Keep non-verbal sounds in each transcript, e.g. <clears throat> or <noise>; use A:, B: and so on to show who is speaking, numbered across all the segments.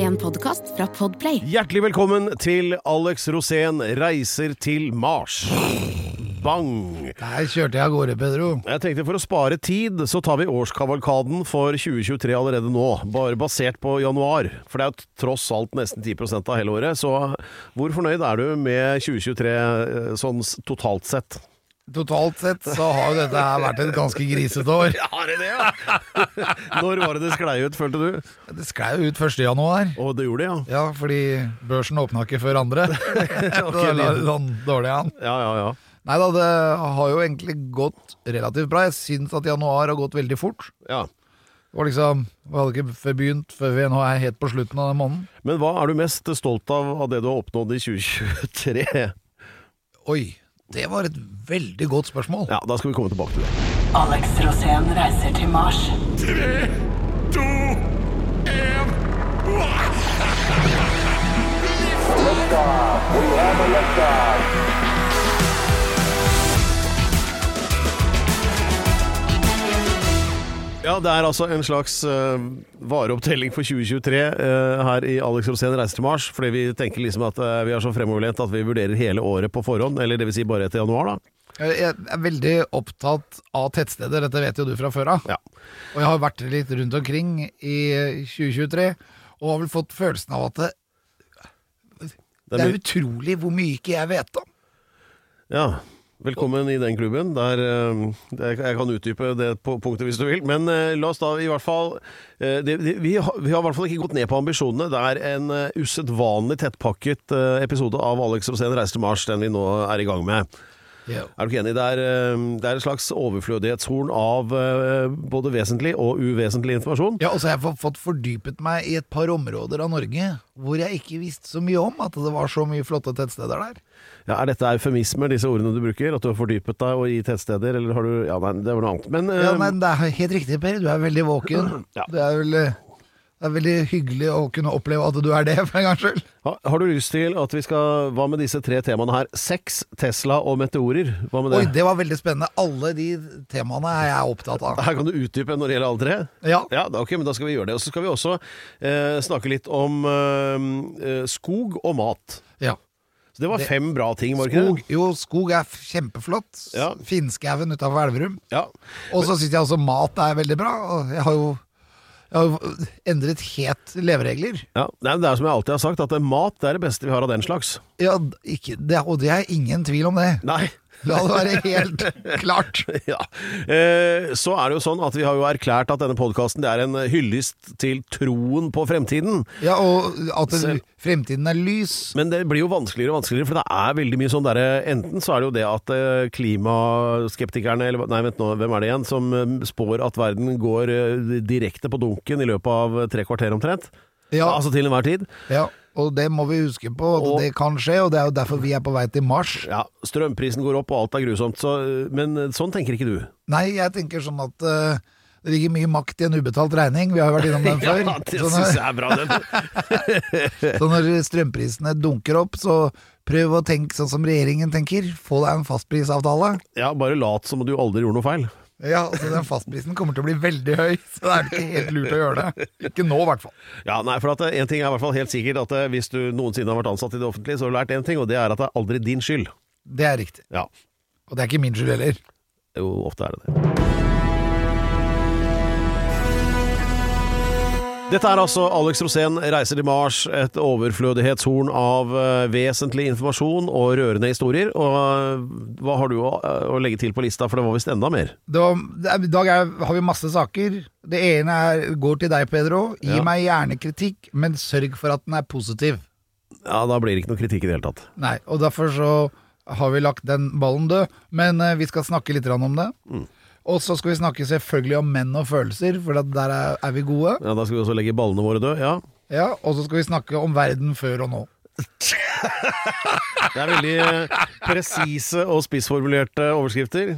A: En podcast fra Podplay
B: Hjertelig velkommen til Alex Rosén reiser til Mars. Bang!
C: Der kjørte jeg av gårde, Pedro.
B: Jeg tenkte For å spare tid så tar vi årskavalkaden for 2023 allerede nå, bare basert på januar. For det er jo tross alt nesten 10 av hele året. Så hvor fornøyd er du med 2023 eh, sånn s- totalt sett?
C: Totalt sett så har jo dette her vært et ganske grisete år.
B: Har det det, ja? <laughs> Når var det det sklei ut, følte du?
C: Det sklei jo ut 1. januar.
B: Å, det gjorde det, ja.
C: Ja, fordi børsen åpna ikke før
B: <laughs>
C: andre. Da la det sånn dårlig an.
B: Ja, ja, ja.
C: Nei da, det har jo egentlig gått relativt bra. Jeg syns at januar har gått veldig fort.
B: ja.
C: Det var liksom, Vi hadde ikke før begynt før vi nå er helt på slutten av den måneden.
B: Men hva er du mest stolt av av det du har oppnådd i 2023?
C: Oi, det var et veldig godt spørsmål.
B: Ja, da skal vi komme tilbake til det.
D: Alex Rosén reiser til Mars.
B: Ja, det er altså en slags eh, vareopptelling for 2023 eh, her i Alex Rosén reiser til Mars. Fordi vi tenker liksom at eh, vi er så fremoverlent at vi vurderer hele året på forhånd. Eller det vil si bare etter januar, da.
C: Jeg er veldig opptatt av tettsteder, dette vet jo du fra før av.
B: Ja.
C: Og jeg har vært litt rundt omkring i 2023, og har vel fått følelsen av at det,
B: Det
C: det
B: er
C: er utrolig hvor mye ikke jeg vet om.
B: Ja. Velkommen i den klubben. Der, eh, det- jeg kan utdype det på punktet hvis du vil. Men eh, la oss da i hvert fall eh, det, det, vi, har, vi har i hvert fall ikke gått ned på ambisjonene. Det er en eh, usedvanlig tettpakket eh, episode av Alex Rosén reiser til Mars, den vi nå er i gang med. Er du ikke enig? Det er, eh, det er et slags overflødighetshorn av eh, både vesentlig og uvesentlig informasjon.
C: Ja, og så har jeg fått- fått fordypet meg i et par områder av Norge hvor jeg ikke visste så mye om at det var så mye flotte tettsteder der.
B: Ja, er dette eufemismer, disse ordene du bruker? At du har fordypet deg og i tettsteder, eller har du Ja, nei, det var noe annet. Men eh,
C: Ja, nei, det er helt riktig, Per. Du er veldig våken.
B: <clears throat> Ja.
C: Det, er vel, eh, det er veldig hyggelig å kunne oppleve at du er det, <laughs> for en gangs skyld.
B: ha, har du lyst til at vi skal Hva med disse tre temaene her? Sex, Tesla og meteorer. Hva med det?
C: Oi, det var veldig spennende. Alle de temaene er jeg opptatt av.
B: Her kan du utdype når det gjelder alle tre?
C: Ja.
B: ja da, ok, men da skal vi gjøre det. Og så skal vi også eh, snakke litt om eh, eh, skog og mat.
C: Ja.
B: Så det var
C: Det-
B: fem bra ting, var det ikke
C: Skog,
B: det?
C: jo, skog er f- kjempeflott.
B: Ja.
C: Finnskauen utafor Elverum.
B: Ja.
C: Og så syns jeg også mat er veldig bra. og Jeg har jo, jeg har jo endret helt leveregler.
B: Ja, nei, men Det er som jeg alltid har sagt, at eh, mat det er det beste vi har av den slags.
C: Ja, d- ikke, det, og det er ingen tvil om det.
B: Nei. <laughs>
C: La det være helt klart.
B: Ja. Eh, så er det jo sånn at vi har jo erklært at denne podkasten er en hyllest til troen på fremtiden.
C: Ja, Og at det, fremtiden er lys.
B: Men det blir jo vanskeligere og vanskeligere, for det er veldig mye sånn derre Enten så er det jo det at eh, klimaskeptikerne, eller hva- nei, vent nå, hvem er det igjen, som eh, spår at verden går eh, direkte på dunken i løpet av tre kvarter omtrent.
C: Ja.
B: Altså til enhver tid.
C: Ja, og det må vi huske på. at
B: Og-
C: det kan skje, og det er jo derfor vi er på vei til Mars.
B: Ja, strømprisen går opp og alt er grusomt, så, eh, men eh, sånn tenker ikke du.
C: Nei, jeg tenker sånn at eh, det ligger mye makt i en ubetalt regning. Vi har jo vært innom den før.
B: <laughs> Ja,
C: Sånn
B: det
C: Så når-
B: syns jeg Sånn er bra. Den.
C: Så når strømprisene dunker opp, så prøv å tenke sånn som regjeringen tenker. Få deg en fastprisavtale.
B: Ja, bare lat som om du aldri gjorde noe feil.
C: Ja, altså den fastprisen kommer til å bli veldig høy, så det er ikke helt lurt å gjøre det. Ikke nå, i hvert fall.
B: Ja, nei, for at eh, En ting er i hvert fall helt sikkert, at eh, hvis du noensinne har vært ansatt i det offentlige, så har du lært én ting, og det er at det er aldri din skyld.
C: Det er riktig.
B: Ja,
C: Og det er ikke min skyld heller.
B: jo, ofte er det det. Dette er altså Alex Rosén reiser til Mars, et overflødighetshorn av eh, vesentlig informasjon og rørende historier. Og eh, hva har du å, å legge til på lista, for det var visst enda mer?
C: Det var, det er, I dag er, har vi masse saker. Det ene er, går til deg, Pedro. Gi
B: Ja.
C: meg gjerne kritikk, men sørg for at den er positiv.
B: Ja, da blir det ikke noe kritikk i det hele tatt.
C: Nei, og derfor så har vi lagt den ballen død, men eh, vi skal snakke litt grann om det. Og så skal vi snakke selvfølgelig om menn og følelser, for at der er, er vi gode.
B: Ja, Da skal vi også legge ballene våre døde. Ja.
C: Ja, Og så skal vi snakke om verden før og nå.
B: Det er veldig eh, presise og spissformulerte overskrifter.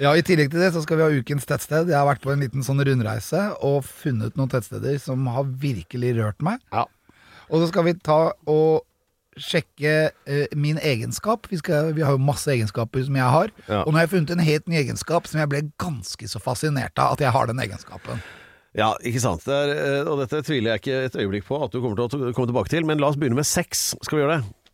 C: Ja, I tillegg til det så skal vi ha ukens tettsted. Jeg har vært på en liten sånn rundreise og funnet noen tettsteder som har virkelig rørt meg.
B: Ja.
C: Og så skal vi ta og sjekke eh, min egenskap. Vi, skal, vi har jo masse egenskaper som jeg har.
B: Ja.
C: Og nå har jeg funnet en helt ny egenskap som jeg ble ganske så fascinert av at jeg har den egenskapen.
B: Ja, ikke sant. Det er, eh, og dette tviler jeg ikke et øyeblikk på at du kommer til å t- komme tilbake til, men la oss begynne med sex. Skal vi gjøre det?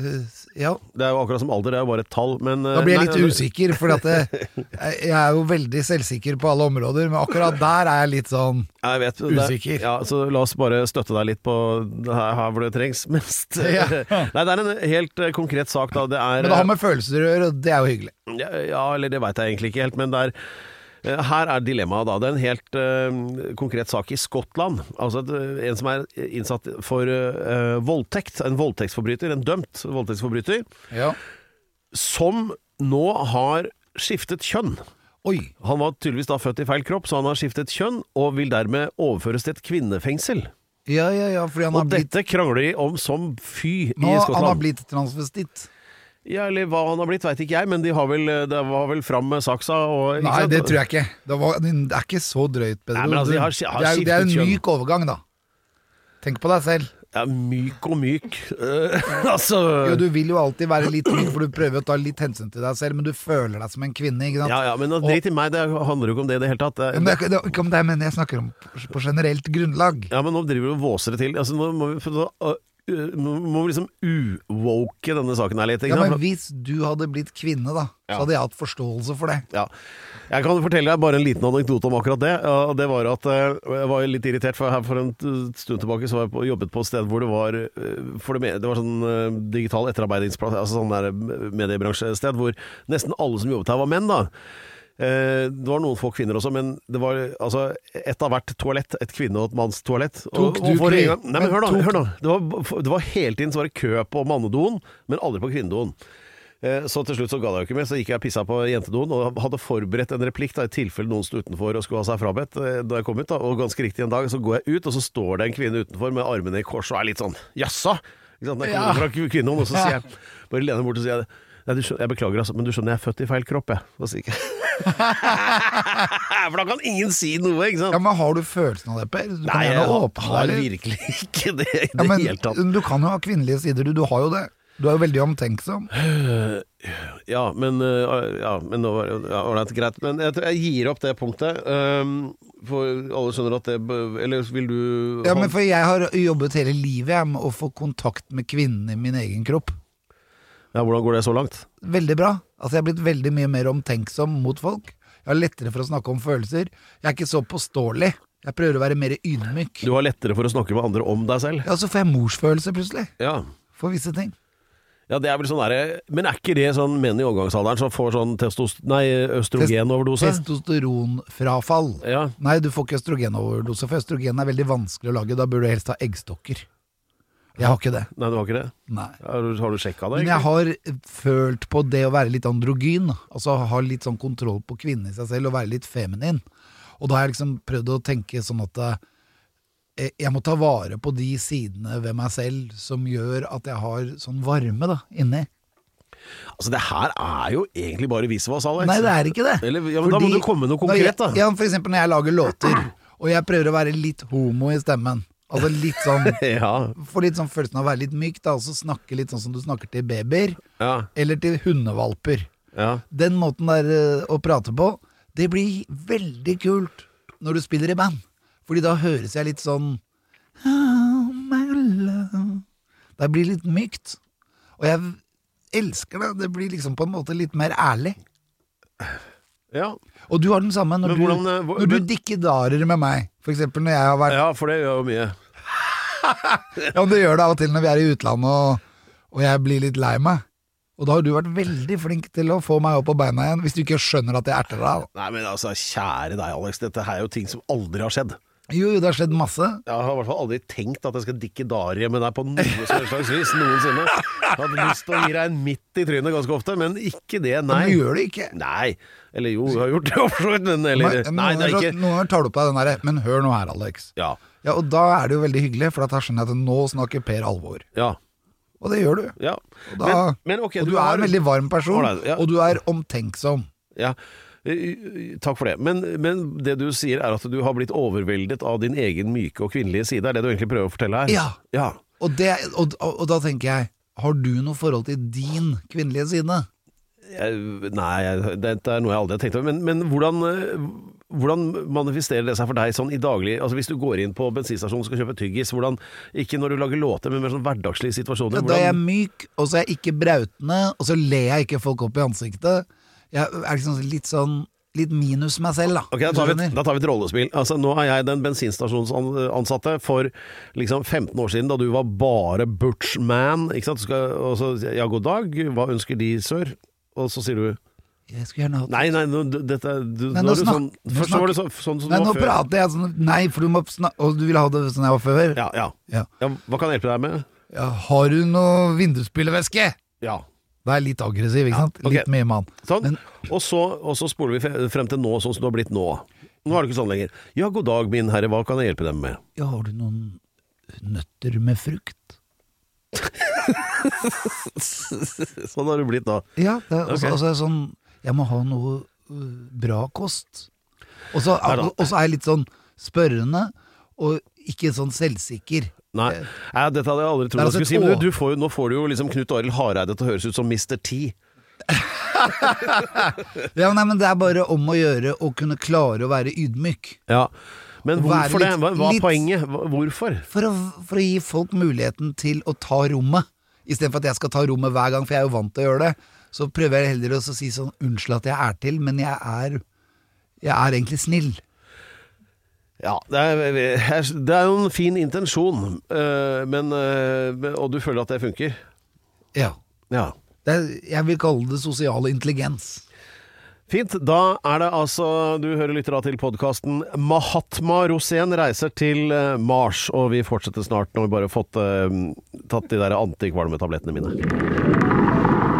C: Eh, ja.
B: Det er jo akkurat som alder, det er jo bare et tall, men eh,
C: Da blir jeg
B: nei,
C: litt usikker, for at det, jeg jeg er jo veldig selvsikker på alle områder, men akkurat der er jeg litt sånn
B: Jeg vet, det er-
C: Usikker.
B: Ja, så la oss bare støtte deg litt på det her, her hvor det trengs mest.
C: Ja.
B: <laughs> Nei, det er en helt eh, konkret sak, da. Det er
C: Men det har med følelser å gjøre, og det er jo hyggelig.
B: Ja, ja, eller det veit jeg egentlig ikke helt, men det er eh, her er dilemmaet, da. Det er en helt eh, konkret sak i Skottland. Altså et, eh, En som er innsatt for eh, voldtekt. En voldtektsforbryter. En dømt voldtektsforbryter.
C: Ja.
B: Som nå har skiftet kjønn.
C: Oi.
B: Han var tydeligvis da født i feil kropp, så han har skiftet kjønn, og vil dermed overføres til et kvinnefengsel.
C: Ja, ja, ja, fordi han
B: Og
C: har blitt,
B: dette krangler de om som fy i
C: nå, han har
B: Skottland.
C: blitt transvestitt.
B: Ja, eller hva han har blitt, veit ikke jeg, men de har vel, eh, det var vel fram med saksa og
C: Nei, det tror jeg ikke. Det, var, det er ikke så drøyt, Pedro.
B: Nei, men altså, de har- har
C: det, er, det er
B: skiftet
C: en
B: kjønn.
C: myk overgang, da. Tenk på deg selv.
B: Ja, myk og myk. <laughs> Eh, altså
C: Jo, du vil jo alltid være litt myk, for du prøver å ta litt hensyn til deg selv, men du føler deg som en kvinne, ikke sant?
B: Ja ja, men drit i meg, det handler jo ikke om det i det hele tatt. Det-
C: Men det, er ikke- det, er ikke om det, men jeg snakker om på generelt grunnlag.
B: Ja, men nå driver du og våser det til. Altså, nå må vi, få- nå, uh, nå må vi liksom uwoke denne saken her litt. Ikke
C: Ja,
B: sant?
C: men hvis du hadde blitt kvinne, da,
B: Ja.
C: så hadde jeg hatt forståelse for det.
B: Ja. Jeg kan fortelle deg bare en liten anekdote om akkurat det. Ja, og Det var at eh, Jeg var litt irritert, for her for en t- stund tilbake så var jeg på, jobbet på et sted hvor det var eh, for det, me- det var sånn eh, digital etterarbeidingsplass, altså sånn der eh, mediebransjested hvor nesten alle som jobbet her, var menn, da. Eh, Det var noen få kvinner også, men det var altså ett av hvert toalett. Et kvinne- og et mannstoalett. Og-
C: Tok
B: og
C: du
B: for
C: kvi-
B: en gang- Nei, men
C: men
B: hør da,
C: tok-
B: hør nå. Det var, det var hele tiden så var det kø på mannedoen, men aldri på kvinnedoen. Eh, Så til slutt så ga det jo ikke mer, så gikk jeg og pissa på jentedoen og hadde forberedt en replikk da, i tilfelle noen sto utenfor og skulle ha seg frabedt eh, da jeg kom ut. da, Og ganske riktig en dag så går jeg ut, og så står det en kvinne utenfor med armene i kors og er litt sånn jaså! Ikke sant? Jeg kommer
C: Ja.
B: fra kvinnedoen, og så sier jeg bare lener bort og sier jeg, Nei, du skjønner, jeg beklager, altså, men du skjønner jeg er født i feil kropp, jeg. Da sier jeg <laughs> For da kan ingen si noe, ikke sant?
C: Ja, men har du følelsen av det, Per? Du kan
B: Nei, jeg
C: gjerne
B: har,
C: åpne
B: har
C: deg litt.
B: virkelig ikke det i
C: Ja,
B: det
C: men
B: hele tatt.
C: du kan jo ha kvinnelige sider, du. Du har jo det. Du er jo veldig omtenksom.
B: Ja, men, øh, ja, men nå var det ja, ålreit, greit. Men jeg, tror jeg gir opp det punktet. øhm, for alle skjønner at det bø- Eller vil du
C: Ja, men for jeg har jobbet hele livet jeg, med å få kontakt med kvinnen i min egen kropp.
B: ja, Hvordan går det så langt?
C: Veldig bra. Altså, jeg er blitt veldig mye mer omtenksom mot folk. Jeg har lettere for å snakke om følelser. Jeg er ikke så påståelig. Jeg prøver å være mer ydmyk.
B: Du har lettere for å snakke med andre om deg selv?
C: Ja, så får jeg morsfølelse plutselig.
B: Ja.
C: For visse ting.
B: ja det er vel sånn derre Men er ikke det sånn menn i overgangsalderen som får sånn testos... Nei, østrogenoverdose?
C: Testosteronfrafall.
B: Ja.
C: Nei, du får ikke østrogenoverdose, for østrogen er veldig vanskelig å lage. Da bør du helst ha eggstokker. Jeg har ikke det.
B: Nei, du har ikke det?
C: Nei.
B: Har du, har du sjekka det?
C: Men jeg har følt på det å være litt androgyn, altså ha litt sånn kontroll på kvinnen i seg selv og være litt feminin. Og da har jeg liksom prøvd å tenke sånn at eh, jeg må ta vare på de sidene ved meg selv som gjør at jeg har sånn varme da, inni.
B: Altså, det her er jo egentlig bare visvas, Alex.
C: Nei, det er ikke det.
B: Eller, ja, men da må du komme med noe
C: når jeg-
B: konkret, da.
C: Ja, for eksempel når jeg lager låter, og jeg prøver å være litt homo i stemmen. Altså litt sånn
B: <laughs> ja.
C: Få litt sånn følelsen av å være litt myk, da, og så snakke litt sånn som du snakker til babyer,
B: Ja.
C: eller til hundevalper.
B: ja.
C: den måten der eh, å prate på, det blir veldig kult når du spiller i band. Fordi da høres jeg litt sånn «Oh, my love». Det blir litt mykt. Og jeg elsker det. Det blir liksom på en måte litt mer ærlig.
B: ja.
C: Og du har den samme når,
B: Men hvordan, eh,
C: du,
B: hvor-
C: når du
B: men-
C: dikkedarer med meg. For eksempel når jeg har vært
B: Ja, for det gjør jo mye.
C: Ja, men du gjør det av og til når vi er i utlandet og, og jeg blir litt lei meg. Og da har du vært veldig flink til å få meg opp på beina igjen, hvis du ikke skjønner at jeg erter deg. da.
B: Nei, men altså, kjære deg, Alex. Dette her er jo ting som aldri har skjedd.
C: Jo, jo, det har skjedd masse.
B: Jeg har i hvert fall aldri tenkt at jeg skal dikke darie med deg på noe som helst slags vis noensinne. Jeg hadde lyst til å gi deg en midt i trynet ganske ofte, men ikke det, nei.
C: Men du gjør det ikke.
B: Nei. Eller jo, jeg har gjort det <laughs> for så vidt, men eller
C: Men-
B: Nei, det er
C: altså- noen, ganger-
B: ikke
C: sånn, noen ganger tar du på deg den derre Men hør nå her, Alex.
B: Ja.
C: Ja, og da er det jo veldig hyggelig, for da skjønner jeg at nå snakker Per alvor.
B: Ja.
C: Og det gjør du.
B: ja.
C: Og, da,
B: men, men ok,
C: og du, er en veldig varm person,
B: Ålreit, ja.
C: og du er omtenksom.
B: Ja. Eh, Takk for det. Men, men det du sier er at du har blitt overveldet av din egen myke og kvinnelige side, er det du egentlig prøver å fortelle her?
C: Ja.
B: ja.
C: Og, det, og, og, og da tenker jeg, har du noe forhold til din kvinnelige side?
B: Jeg, nei, jeg, dette er noe jeg aldri har tenkt over. Men, men hvordan, eh, hvordan manifesterer det seg for deg sånn i daglig Altså Hvis du går inn på bensinstasjonen og skal kjøpe tyggis, hvordan Ikke når du lager låter, men mer sånn hverdagslige situasjoner.
C: Ja, da er jeg
B: hvordan,
C: myk, og så er jeg ikke brautende, og så ler jeg ikke folk opp i ansiktet. Jeg er liksom litt sånn Litt minus meg selv, da.
B: Ok, da
C: hvis
B: tar,
C: du
B: vi,
C: skjønner.
B: da tar vi et rollespill. Altså, nå er jeg den bensinstasjonsansatte for liksom 15 år siden, da du var bare butchman. Ikke sant? Du skal, og så, ja, god dag, hva ønsker De, sir? Og så sier du
C: Jeg skulle gjerne hatt
B: Nei, nei, nå, d- dette er- du,
C: Nei,
B: nå
C: nå
B: er du sånn,
C: snak- nå
B: Først så var du
C: snak-
B: så, sånn som
C: Nei,
B: du
C: nå
B: var før.
C: prater jeg sånn Nei, for du må snakke Og du ville ha det sånn jeg var før?
B: Ja, ja.
C: Ja.
B: ja. Hva kan jeg hjelpe deg med?
C: Ja, har du noe vindusspillevæske?
B: Ja.
C: Da er jeg litt aggressiv, ikke sant?
B: ok.
C: Litt mye mann.
B: Sånn.
C: Men-
B: og, så, og så spoler vi fre- frem til nå, sånn som du har blitt nå. Nå er det ikke sånn lenger. Ja, god dag, min herre, hva kan jeg hjelpe dem med? <laughs>
C: Ja, har du noen nøtter med frukt?
B: Sånn har du blitt da.
C: Ja, det er
B: Ok.
C: også, også er sånn Jeg må ha noe øh, bra kost. Og så
B: Nei da.
C: og så er jeg litt sånn spørrende, og ikke sånn selvsikker.
B: Nei, Nei dette hadde jeg aldri
C: Det er
B: trodd jeg
C: altså
B: skulle si.
C: et
B: Men
C: å.
B: du, du får jo, nå får du jo liksom Knut Arild Hareide til å høres ut som Mr. T.
C: Ja, nei, men Det er bare om å gjøre å kunne klare å være ydmyk.
B: Ja. Men
C: Å være
B: hvorfor det?
C: litt-
B: Hva, hva er
C: litt-
B: poenget? Hva- Hvorfor?
C: For å, for å gi folk muligheten til å ta rommet. Istedenfor at jeg skal ta rommet hver gang, for jeg er jo vant til å gjøre det. Så prøver jeg heller å så si sånn Unnskyld at jeg er til, men jeg er, jeg er egentlig snill.
B: Ja, det er, det er jo en fin intensjon, øh, men, øh, og du føler at det funker.
C: Ja.
B: Ja.
C: Det er, jeg vil kalle det sosial intelligens.
B: Fint. Da er det altså Du hører lytter da til podkasten Mahatma Rosén reiser til eh, Mars. Og vi fortsetter snart når vi bare har fått eh, tatt de der antikvalmetablettene mine.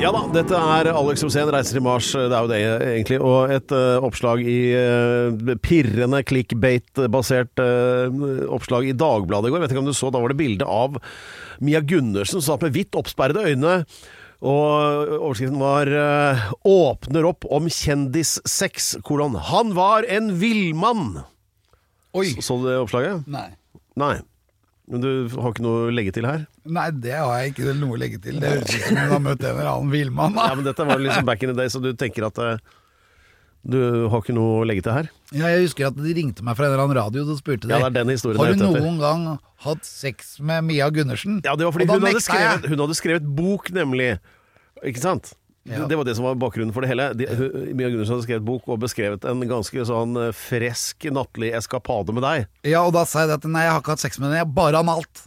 B: Ja da, dette er Alex Rosén reiser til Mars. eh, Det er jo det, egentlig. Og et eh, oppslag i eh, pirrende clickbait-basert eh, oppslag i Dagbladet i går. Vet ikke om du så, da var det bilde av Mia Gundersen som satt med vidt oppsperrede øyne. Og overskriften var eh, 'Åpner opp om kjendissex', kolon. Han var en villmann!
C: Oi!
B: Så du det oppslaget?
C: Nei.
B: Nei. Men du har ikke noe å legge til her?
C: Nei, det har jeg ikke noe å legge til. Det høres ut som hun har møtt en eller annen villmann.
B: Ja, men dette var liksom back in the day, så du tenker at eh, du har ikke noe å legge til her?
C: Ja, jeg husker at de ringte meg fra en eller annen radio og spurte de,
B: Ja, det er den historien
C: har
B: jeg er
C: du
B: ute etter.
C: noen gang hatt sex med Mia Gundersen?
B: Ja, det var fordi
C: Og da
B: hun hadde,
C: nekta jeg.
B: skrevet, hun hadde skrevet bok, nemlig. Ikke sant?
C: Ja.
B: Det var det som var bakgrunnen for det hele. De, hun- Mia Gundersen hadde skrevet bok og beskrevet en ganske sånn eh, fresk nattlig eskapade med deg. <laughs>
C: Ja, og da sa jeg at nei, jeg har ikke hatt sex med henne, jeg har bare analt.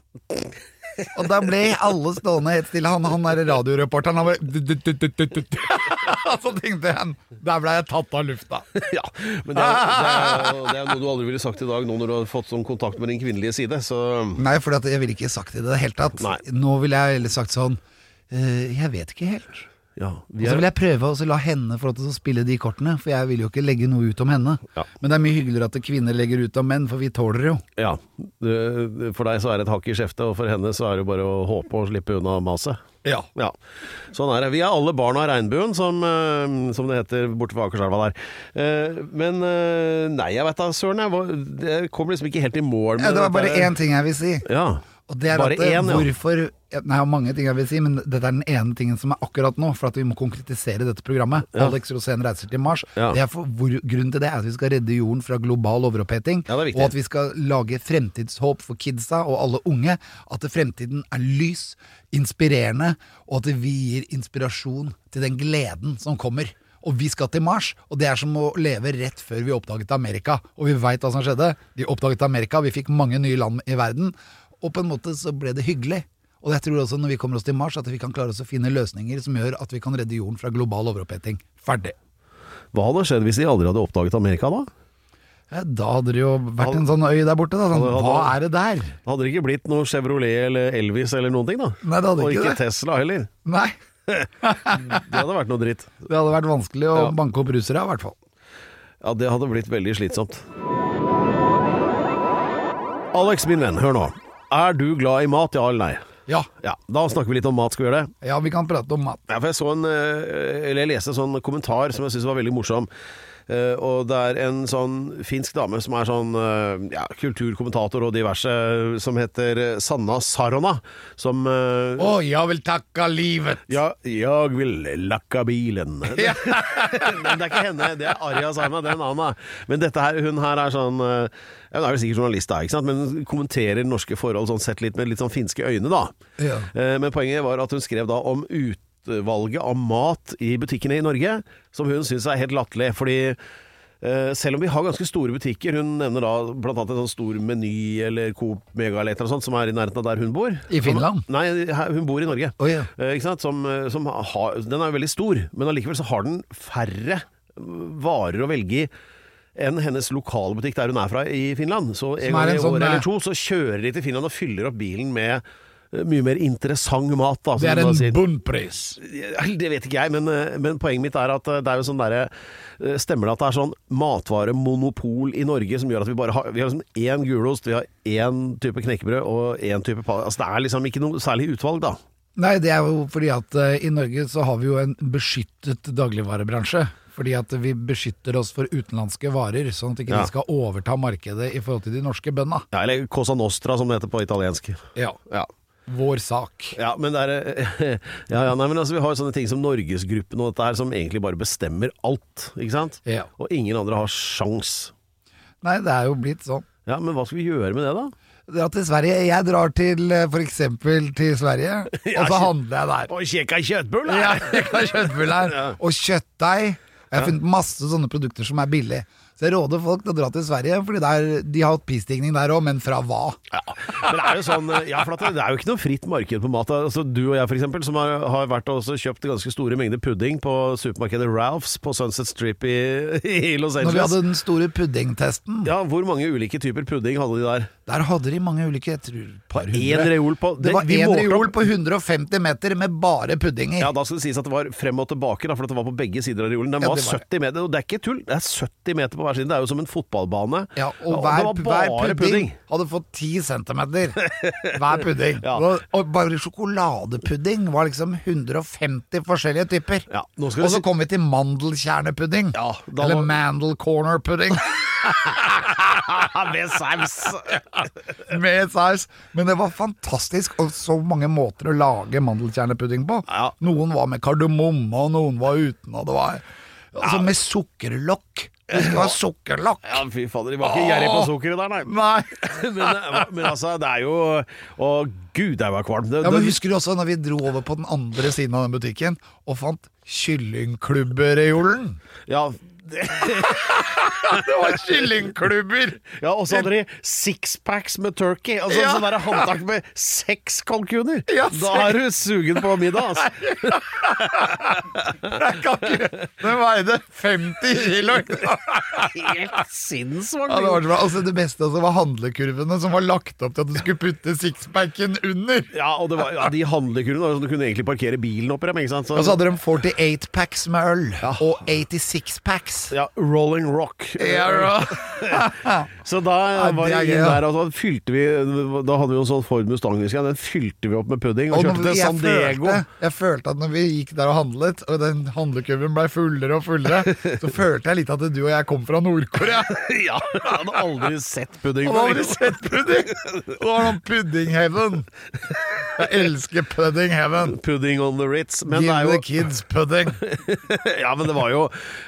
C: Og da ble alle stående helt stille. Han, han der radioreporteren, han bare «Du-du-du-du-du-du». <laughs> Og så tenkte jeg der ble jeg tatt av lufta.
B: Ja, men det er, det, er, jo- det er noe du aldri ville sagt i dag, nå når du har fått sånn kontakt med din kvinnelige side. Så
C: Nei, for at jeg ville ikke sagt det i det hele tatt.
B: Nei.
C: Nå ville jeg heller sagt sånn «Eh, Jeg vet ikke helt.
B: ja,
C: Og
B: vi
C: så
B: er,
C: vil jeg prøve å så la henne få lov til å spille de kortene, for jeg vil jo ikke legge noe ut om henne.
B: Ja.
C: Men det er mye hyggeligere at kvinner legger ut om menn, for vi tåler jo.
B: ja, du- for deg så er det et hakk i skjeftet, og for henne så er det jo bare å håpe å slippe unna maset.
C: Ja.
B: Ja, sånn er det. Vi er alle barn av regnbuen, som, eh, som det heter borte ved Akerselva der. Eh, men eh, nei, jeg veit da søren. Jeg, var- jeg kom liksom ikke helt i mål med
C: Det var bare
B: dette her.
C: én ting jeg vil si.
B: Ja.
C: Og det er
B: Bare
C: at eh,
B: én, ja.
C: hvorfor ja, Nei, jeg har mange ting jeg vil si, men dette er den ene tingen som er akkurat nå, for at vi må konkretisere dette programmet.
B: Ja.
C: Alex Rosén reiser til Mars.
B: Ja.
C: Det er for, hvor, grunnen til det er at vi skal redde jorden fra global overoppheting,
B: Ja, det er viktig.
C: og at vi skal lage fremtidshåp for kidsa og alle unge. At fremtiden er lys, inspirerende, og at vi gir inspirasjon til den gleden som kommer. Og vi skal til Mars, og det er som å leve rett før vi oppdaget Amerika. Og vi veit hva som skjedde. Vi oppdaget Amerika, vi fikk mange nye land i verden. Og på en måte så ble det hyggelig. Og jeg tror også når vi kommer oss til Mars, at vi kan klare oss å finne løsninger som gjør at vi kan redde jorden fra global overoppheting. Ferdig.
B: Hva hadde skjedd hvis de aldri hadde oppdaget Amerika da?
C: Ja, da hadde det jo vært en sånn øy der borte, da. Sånn,
B: Hadde- hadde-
C: hva er det der?
B: Det hadde ikke blitt noe Chevrolet eller Elvis eller noen ting, da.
C: Nei, det hadde
B: Og
C: ikke
B: ikke
C: det.
B: Tesla heller.
C: Nei.
B: Det hadde vært noe dritt.
C: Det hadde vært vanskelig å
B: Ja.
C: banke opp russere, i hvert fall.
B: Ja, det hadde blitt veldig slitsomt. Alex, min venn, hør nå. Er du glad i mat, ja eller nei?
C: Ja.
B: Ja, da snakker vi litt om mat, skal vi gjøre det?
C: ja, vi kan prate om mat.
B: Ja, for jeg så en eh, Eller jeg leste en sånn kommentar som jeg syntes var veldig morsom. Eh, og det er en sånn finsk dame som er sånn eh, ja, kulturkommentator og diverse, som heter eh, Sanna Sarona. Som eh,
C: Å, jeg vil takke livet!
B: ja, jeg vil lakka bilen. Det, men det er ikke henne, det er Arja Saima, det er en annen. da. Men dette her, hun her er sånn eh, ja, Hun er vel sikkert journalist, da, ikke sant? men hun kommenterer norske forhold sånn sett litt med litt sånn finske øyne, da.
C: Ja.
B: Eh, Men poenget var at hun skrev da om utvalget av mat i butikkene i Norge, som hun syns er helt latterlig. Fordi eh, selv om vi har ganske store butikker, hun nevner da bl.a. en sånn stor Meny eller Coop Mega eller et eller annet sånt, som er i nærheten av der hun bor.
C: I Finland?
B: Som, nei, her- hun bor i Norge.
C: Å, ja.
B: Eh, ikke sant? Som, eh, som har, den er jo veldig stor, men allikevel så har den færre mm, varer å velge i enn hennes lokale butikk der hun er fra i Finland. Så en
C: Som er
B: gang i
C: en sånn,
B: året
C: eh,
B: eller to så kjører de til Finland og fyller opp bilen med eh, mye mer interessant mat. Da, som
C: Det er
B: de da
C: en
B: sier.
C: bunnpris.
B: Ja, Det vet ikke jeg, men, eh, men poenget mitt er at eh, det er jo sånn derre eh, Stemmer det at det er sånn matvaremonopol i Norge som gjør at vi bare har Vi har liksom én gulost, vi har én type knekkebrød og én type pa- Altså det er liksom ikke noe særlig utvalg, da.
C: Nei, det er jo fordi at eh, i Norge så har vi jo en beskyttet dagligvarebransje. Fordi at vi beskytter oss for utenlandske varer, sånn at ikke
B: Ja.
C: de skal overta markedet i forhold til de norske bøndene.
B: Ja, eller Cosa Nostra, som det heter på italiensk.
C: Ja.
B: Ja.
C: Vår sak.
B: Ja, men det er <laughs> ja, ja, nei, men altså, Vi har jo sånne ting som Norgesgruppen og dette her, som egentlig bare bestemmer alt. Ikke sant?
C: Ja.
B: Og ingen andre har sjans.
C: Nei, det er jo blitt sånn.
B: Ja, Men hva skal vi gjøre med det, da?
C: Dra til Sverige. Jeg drar til eh, for eksempel til Sverige, <laughs> og så handler jeg der.
B: Og kjekka kjøttbull!
C: Ja, jeg kan kjøttbull her. Og kjøttdeig. Jeg har funnet masse sånne produkter som er billige. Så jeg råder folk til å dra til Sverige, Fordi der, de har hatt prisstigning der òg, men fra hva?
B: Men det er jo sånn Ja, for at det er jo ikke noe fritt marked på mat. Altså, du og jeg, for eksempel, som har, har vært og også kjøpt ganske store mengder pudding på supermarkedet Ralphs på Sunset Strip i, <laughs> i Los
C: Når vi
B: Angeles.
C: hadde den store puddingtesten,
B: Ja, Hvor mange ulike typer pudding hadde de der?
C: der hadde de mange ulike jeg tror, par
B: Én
C: hundre.
B: reol på
C: Det var
B: vi
C: én
B: målte opp-
C: reol på 150 meter med bare puddinger.
B: Ja, da skal det sies at det var frem og tilbake, da, for det var på begge sider av reolen. Den
C: Ja,
B: var
C: det var det.
B: 70 meter, og det er ikke tull. Det er 70 meter på hver side. Det er jo som en fotballbane.
C: Ja, og
B: det
C: hver,
B: var
C: hver
B: bare
C: pudding,
B: <laughs>
C: hadde fått 10 centimeter Hver pudding
B: Ja.
C: og, og bare sjokoladepudding var liksom 150 forskjellige typer
B: Ja, nå skal vi
C: Og så
B: si-
C: kom vi til mandelkjernepudding
B: Ja, da
C: Eller
B: var- <laughs>
C: mandelcornerpudding
B: Med saus!
C: med saus Men det var fantastisk Og så mange måter å lage mandelkjernepudding på
B: Ja.
C: Noen var med kardemomme Og noen var uten Og det var altså, med sukkerlokk Det var sukkerlokk
B: Ja, fy fader, de var ikke gjerrige på sukkeret der, nei.
C: Nei
B: <laughs> Men, men altså, det er jo Å gud, jeg var kvalm. Det,
C: Ja, men
B: det-
C: Husker du også når vi dro over på den andre siden av den butikken og fant kyllingklubbereolen?
B: ja,
C: Det var kyllingklubber!
B: ja, og så hadde de sixpacks med turkey. Altså
C: Ja.
B: sånn derre håndtak med seks kalkuner.
C: Ja,
B: da er du sugen på middag,
C: <laughs>
B: altså.
C: Jeg kan ikke- Den veide 50 kilo!
B: Helt sinnssvakt.
C: Ja, det, var så bra. altså, det beste også var handlekurvene som var lagt opp til at du skulle putte sixpacken under.
B: Ja, og det var, ja, de handlekurvene var jo sånn, Du kunne egentlig parkere bilen oppi dem. ikke sant? Så-
C: Og så hadde de 48 packs med øl, og 86 packs.
B: ja, Rolling Rock.
C: <laughs>
B: Så da
C: Ja,
B: var
C: det er
B: det
C: gøy,
B: ingen
C: ja.
B: der, og da fylte vi Da hadde vi jo en sånn Ford Mustang, husker jeg. Den fylte vi opp med pudding og,
C: Og
B: kjørte
C: når
B: til
C: jeg,
B: San Diego.
C: følte, jeg følte at når vi gikk der og handlet, og den handlekurven ble fullere og fullere,
B: <laughs>
C: så følte jeg litt at du og jeg kom fra Nord-Korea.
B: <laughs> Ja, jeg hadde aldri sett pudding
C: Og da har
B: før.
C: du sett pudding! Det var noen pudding heaven. Jeg elsker pudding heaven.
B: Pudding on the Ritz. Men det
C: Give
B: er
C: the
B: jo
C: kids pudding.
B: <laughs> Ja, men det var jo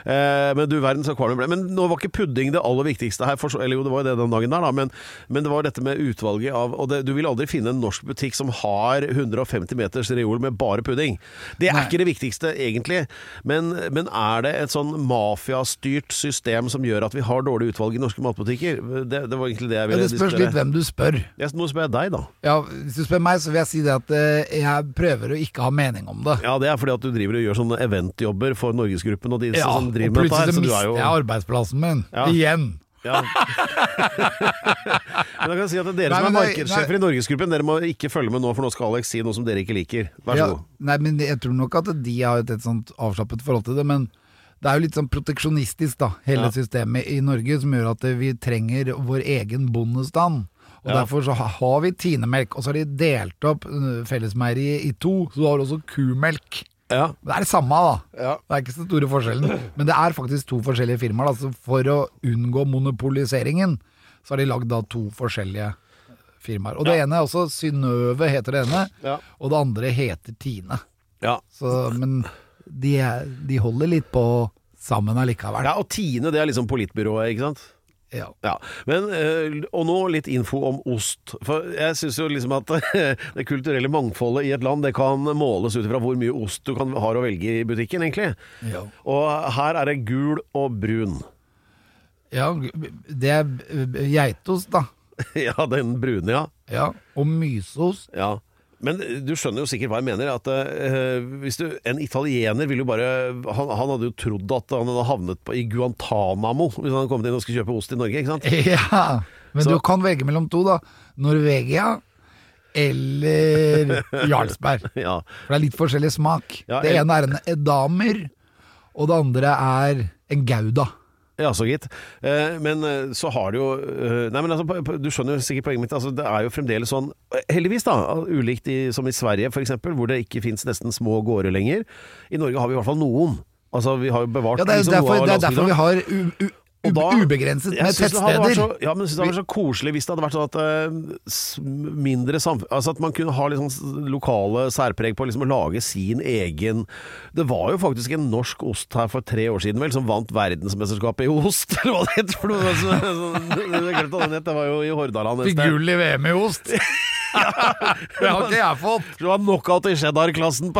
B: eh, Men du verden så kvalm jeg ble. Men nå var ikke pudding det aller viktigste her, for, så- eller jo, det var jo det den dagen der, da, men, men det var dette med utvalget av Og det, du vil aldri finne en norsk butikk som har 150 meters reol med bare pudding. Det er
C: Nei.
B: ikke det viktigste, egentlig. Men, men er det et sånn mafiastyrt system som gjør at vi har dårlig utvalg i norske matbutikker? Det, det var egentlig det jeg
C: Men
B: ville
C: det spørs litt
B: diskutere.
C: hvem du spør.
B: Jeg, nå spør jeg deg, da.
C: Ja, hvis du spør meg, så vil jeg si det at eh, jeg prøver å ikke ha mening om det.
B: Ja, Det er fordi at du driver og gjør sånne eventjobber for Norgesgruppen og de som
C: og
B: driver med dette her.
C: plutselig så
B: Så du er
C: mister
B: jo
C: jeg arbeidsplassen min.
B: Ja.
C: Igjen.
B: Ja. <laughs> Men da kan jeg si at dere som
C: Nei,
B: er
C: men det-
B: markedssjefer i Norgesgruppen, dere må ikke følge med nå, for nå skal Alex si noe som dere ikke liker. Vær så
C: Ja,
B: god.
C: nei, men jeg tror nok at de har et, et sånt avslappet forhold til det, men det er jo litt sånn proteksjonistisk, da, hele
B: Ja.
C: systemet i Norge, som gjør at vi trenger vår egen bondestand. Og
B: Ja.
C: Derfor så ha- har vi tinemelk, og så har de delt opp øh, fellesmeieriet i to, så du har også kumelk.
B: Ja.
C: Men det er det samme, da.
B: Ja.
C: Det er ikke så store forskjellen. Men det er faktisk to forskjellige firmaer. Da. Så for å unngå monopoliseringen, så har de lagd da to forskjellige firmaer. Og det ene er også Synnøve, heter det ene.
B: Ja.
C: Og det andre heter Tine.
B: ja.
C: Så, men de, er, de holder litt på sammen allikevel.
B: Ja, og Tine, det er liksom politbyrået, ikke sant?
C: Ja.
B: Ja, men, eh, Og nå litt info om ost. For jeg syns jo liksom at <laughs> det kulturelle mangfoldet i et land det kan måles ut fra hvor mye ost du kan, har å velge i butikken, egentlig.
C: Ja.
B: Og her er det gul og brun. <laughs>
C: Ja, det er eh, geitost, da.
B: ja, den brune, ja.
C: Ja. Og myseost.
B: ja. Men du skjønner jo sikkert hva jeg mener. At eh, hvis du, En italiener ville jo bare han, han hadde jo trodd at han hadde havnet på, i Guantánamo hvis han hadde kommet inn og skulle kjøpe ost i Norge, ikke sant?
C: <laughs> Ja, men
B: Så-
C: du kan velge mellom to, da. Norvegia
B: <laughs>
C: eller Jarlsberg.
B: Ja.
C: For det er litt forskjellig smak.
B: Ja,
C: det
B: el-
C: ene er en edamer, og det andre er en gouda.
B: Ja, så gitt. Eh, Men eh, så har det jo eh, Nei, men altså, på- på- du skjønner jo sikkert poenget mitt. Altså, det er jo fremdeles sånn Heldigvis, da. Ulikt i, som i Sverige, f.eks., hvor det ikke fins nesten små gårder lenger. I Norge har vi i hvert fall noen. Altså, vi har jo bevart
C: Ja, det er
B: liksom, noe
C: derfor,
B: av
C: det er derfor
B: landsbygda.
C: vi har u, u, u,
B: Og da-
C: ubegrenset
B: Jeg
C: med
B: synes det hadde vært
C: tettsteder.
B: Så, ja, men jeg synes det hadde vært så koselig hvis det hadde vært sånn at eh, s- mindre samfunn Altså at man kunne ha litt sånn s- lokale særpreg på liksom å lage sin egen Det var jo faktisk en norsk ost her for tre år siden vel, som vant verdensmesterskapet i ost, eller hva det het for noe sånt. Jeg glemte hva det het, det var jo i Hordaland et
C: Fikk
B: sted.
C: gull i VM i
B: <laughs>
C: ost! <laughs> det har ikke jeg fått.
B: Så det var knockout i cheddar-klassen på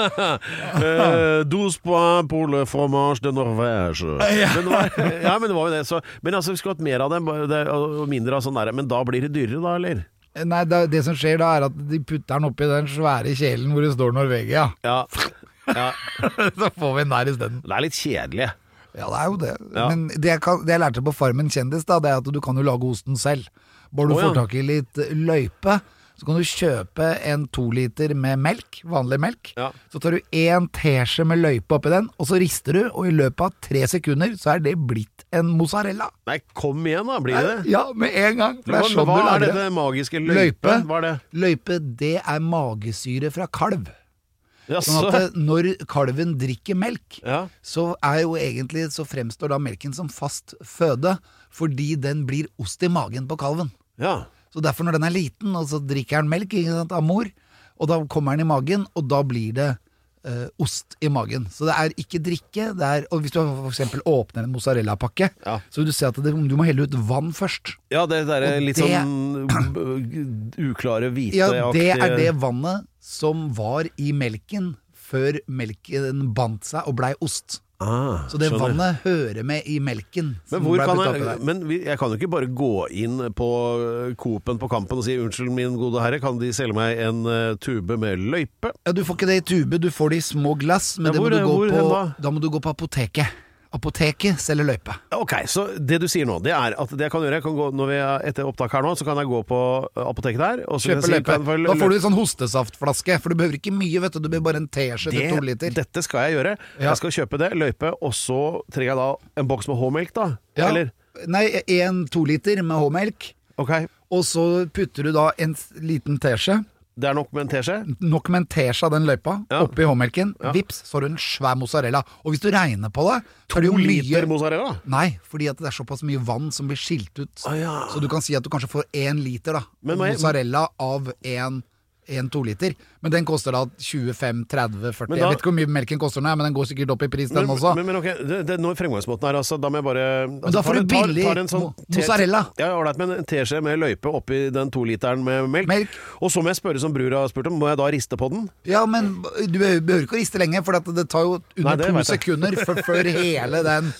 B: Eh, 12 points pour le fromage de Norvège. Men det var, ja, men det var jo det. Så, men altså, vi skulle hatt mer av det, bare det, og mindre av sånn derre. Men da blir det dyrere, da, eller?
C: Nei, det, det som skjer da, er at de putter den oppi den svære kjelen hvor det står Norvegia. <laughs>
B: Ja. ja.
C: Så får vi den der isteden.
B: Det er litt kjedelig.
C: Ja, det er jo det.
B: Ja.
C: Men det jeg, kan, det jeg lærte på Farmen kjendis, da, det er at du kan jo lage osten selv. Bare du
B: Å, ja.
C: får tak i litt eh, løype, så kan du kjøpe en to liter med melk, vanlig melk.
B: Ja.
C: Så tar du en teskje med løype oppi den, og så rister du, og i løpet av tre sekunder så er det blitt en mozzarella.
B: Nei, kom igjen, da. Blir det det?
C: Ja, med en gang. For det
B: Hva,
C: er sånn
B: hva
C: du
B: er
C: lager
B: dette
C: det.
B: magiske løype?
C: Løype,
B: Hva er det?
C: løype, det er magesyre fra kalv. Sånn
B: Jaså?
C: at eh, når kalven drikker melk,
B: Ja.
C: så er jo egentlig så fremstår da melken som fast føde, fordi den blir ost i magen på kalven.
B: ja.
C: Så derfor når den er liten, og så drikker den melk ikke sant, av mor, og da kommer den i magen, og da blir det eh, ost i magen. Så det er ikke drikke, det er, og hvis du for eksempel åpner en mozzarellapakke,
B: Ja.
C: så vil du se at det, du må helle ut vann først.
B: Ja, det derre
C: Og
B: litt
C: det-
B: sånn b- uklare, hvite
C: Ja, det er det vannet som var i melken før melken bandt seg og blei ost.
B: Ah,
C: Så det
B: skjønner.
C: vannet hører med i melken.
B: Men,
C: som
B: hvor
C: ble
B: kan
C: puttet oppi
B: jeg,
C: der.
B: men vi- jeg kan jo ikke bare gå inn på eh, Coop-en på Kampen og si 'unnskyld, min gode herre, kan De selge meg en eh, tube med løype'?
C: Ja, Du får ikke det i tube, du får det i små glass, men
B: Ja,
C: det
B: hvor-
C: må du gå
B: hvor
C: på,
B: hen
C: da må du gå på apoteket. Apoteket selger løype.
B: Ok, så det du sier nå, det er at det jeg kan gjøre jeg kan gå, Når vi er etter opptak her nå, så kan jeg gå på eh, apoteket der og så kan jeg
C: Kjøpe
B: si,
C: løype.
B: kan jeg få lø-
C: Da får du en sånn hostesaftflaske, for du behøver ikke mye, vet du. Du behøver bare en teskje til to
B: det,
C: liter.
B: Dette skal jeg gjøre.
C: Ja.
B: Jeg skal kjøpe det, løype, og så trenger jeg da en boks med H-melk, da?
C: Ja.
B: Eller?
C: Nei, en to liter med H-melk,
B: Ok,
C: og så putter du da en s- liten teskje,
B: det er nok med en teskje?
C: nok med en teskje av den løypa,
B: Ja.
C: oppi H-melken. Vips, så har du en svær mozzarella. Og hvis du regner på det, så er det
B: To
C: jo mye
B: liter mozzarella?
C: Nei, fordi at det er såpass mye vann som blir skilt ut.
B: Å, ja.
C: Så du kan si at du kanskje får én liter da,
B: Men må jeg-
C: mozzarella av én to liter. Men den koster da 25-30-40.
B: Men da-
C: Jeg vet ikke hvor mye melken koster nå, men den går sikkert opp i pris, den
B: Men,
C: også.
B: men, men ok, det, det, nå er fremgangsmåten her, altså. Da må jeg bare altså,
C: da får
B: tar
C: du
B: en- tar-
C: billig
B: tar en sånn
C: mo-
B: te-
C: mozzarella.
B: Ja, ålreit, men en teskje med løype oppi den toliteren med melk.
C: Melk.
B: Og så må jeg spørre som brura har spurt om, må jeg da riste på den?
C: ja, men du behøver ikke å riste lenge, for at det tar jo
B: Nei,
C: under
B: det
C: to
B: vet jeg.
C: sekunder før, før, hele den,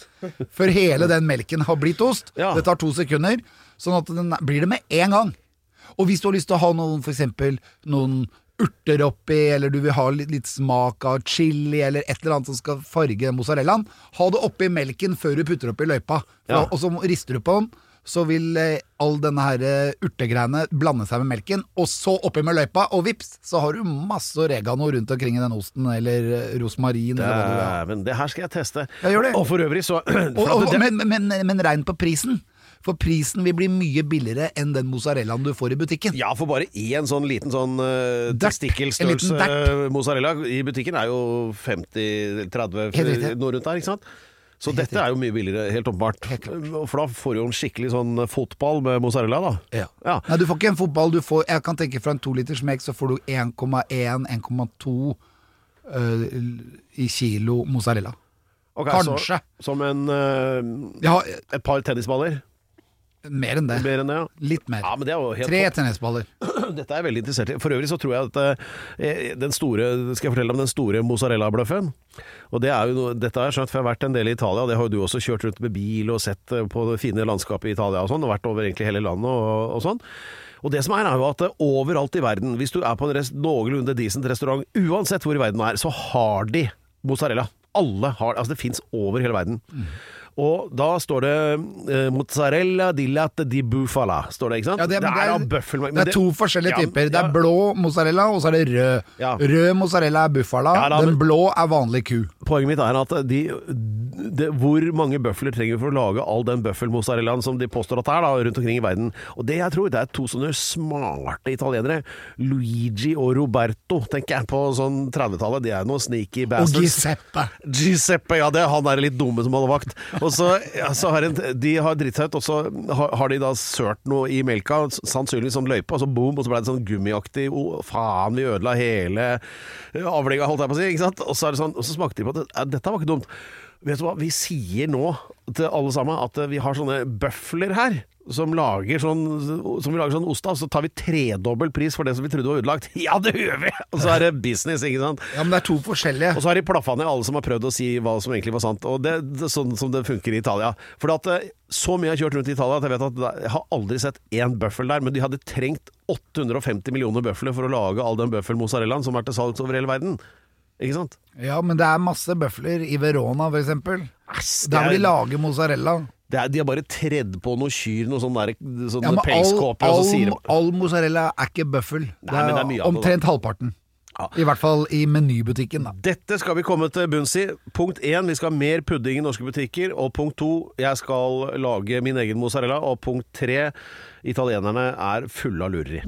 C: før hele den melken har blitt ost.
B: Ja.
C: Det tar to sekunder, sånn at den blir det med en gang. Og hvis du har lyst til å ha noen, for eksempel noen urter oppi, eller du vil ha litt, litt smak av chili, eller et eller annet som skal farge den mozzarellaen, ha det oppi melken før du putter oppi løypa. For,
B: Ja.
C: Og så rister du på den, så vil eh, all denne her eh, urtegreiene blande seg med melken, og så oppi med løypa, og vips, så har du masse oregano rundt omkring i den osten, eller eh, rosmarin, eller hva du vil ha.
B: Dæven, det her skal jeg teste.
C: Ja, gjør det.
B: Og for øvrig så <clears throat> for
C: Og, og,
B: at det,
C: men, men, men regn på prisen. For prisen vil bli mye billigere enn den mozzarellaen du får i butikken.
B: Ja, for bare én sånn liten sånn uh,
C: Derp. En liten
B: testikkelstørrelse
C: derp.
B: eh, mozzarella i butikken er jo 50-30,
C: Helt riktig.
B: noe rundt der, ikke sant? Så dette er jo mye billigere, helt åpenbart.
C: Helt
B: For da får du jo en skikkelig sånn fotball med mozzarella, da.
C: Ja.
B: Ja.
C: Nei, du får ikke en fotball. Du får, jeg kan tenke fra en toliters melk så får du 1,1, 1,2 eh, i kilo mozzarella.
B: Ok,
C: Kanskje.
B: Så, som en eh,
C: Ja,
B: et par tennisballer.
C: mer enn det.
B: Mer enn det, ja.
C: Litt mer.
B: Ja, men det er jo helt
C: Tre
B: topp.
C: tennisballer.
B: <clears throat> Dette er jeg veldig interessert i. For øvrig så tror jeg at eh, den store Skal jeg fortelle om den store mozzarella-bløffen? Og det er jo noe, Dette har jeg skjønt, for jeg har vært en del i Italia. og Det har jo du også kjørt rundt med bil og sett eh, på det fine landskapet i Italia og sånn. Og vært over egentlig hele landet og, og sånn. Og det som er, er jo at eh, overalt i verden, hvis du er på en rest, noenlunde decent restaurant, uansett hvor i verden du er, så har de mozzarella. Alle har Altså, det fins over hele verden. Og da står det eh, mozzarella di latte di bufala, står det, ikke sant?
C: Ja, det, men
B: er av bøffel... men
C: det er to forskjellige
B: ja,
C: typer. Det er
B: ja.
C: blå mozzarella, og så er det rød.
B: Ja.
C: Rød mozzarella er buffala,
B: Ja, da,
C: den
B: men-
C: blå er vanlig ku.
B: Poenget mitt er at de, de, hvor mange bøfler trenger vi for å lage all den bøffelmozzarellaen som de påstår at det er da, rundt omkring i verden? Og det jeg tror, det er to sånne smarte italienere. Luigi og Roberto, tenker jeg, på sånn 30-tallet. De er noen sneaky
C: Og
B: bastards.
C: Giuseppe.
B: Giuseppe, ja det er han der litt dumme som hadde vakt. Og så, ja, så har en, De har dritt seg ut, og så har, har de da sørt noe i melka, s- sannsynligvis sånn løype, og så boom, og så ble det sånn gummiaktig Å, faen, vi ødela hele avlegga, holdt jeg på å si. ikke sant? Og så, er det sånn, og så smakte de på at det, ja, dette var ikke dumt. Vet du hva, vi sier nå til alle sammen at eh, vi har sånne bøfler her. Som, lager sånn, som vi lager sånn ost av, så tar vi tredobbel pris for det som vi trodde var ødelagt. <laughs> Ja, det gjør vi! Og så er det business, ikke sant.
C: Ja, men det er to forskjellige.
B: Og så har de plaffa ned alle som har prøvd å si hva som egentlig var sant. Og det, det er Sånn som det funker i Italia. For at, eh, så mye jeg har kjørt rundt i Italia at jeg vet at det- jeg har aldri sett én bøffel der. Men de hadde trengt 850 millioner bøfler for å lage all den bøffelmozzarellaen som er til salgs over hele verden. Ikke sant?
C: Ja, men det er masse bøfler i Verona, for eksempel.
B: det
C: Der hvor
B: er-
C: de lager mozzarella.
B: Det er, de har bare tredd på noe kyr, noen sånne, der- sånne
C: Ja, men all,
B: pelskåper, og så sier
C: all,
B: de
C: all mozzarella er ikke bøffel. Det
B: Nei,
C: er,
B: men det er mye av det, da.
C: omtrent halvparten.
B: Ja.
C: I hvert fall i menybutikken, da.
B: Dette skal vi komme til bunns i. Punkt én, vi skal ha mer pudding i norske butikker. Og punkt to, jeg skal lage min egen mozzarella. Og punkt tre, italienerne er fulle av lureri.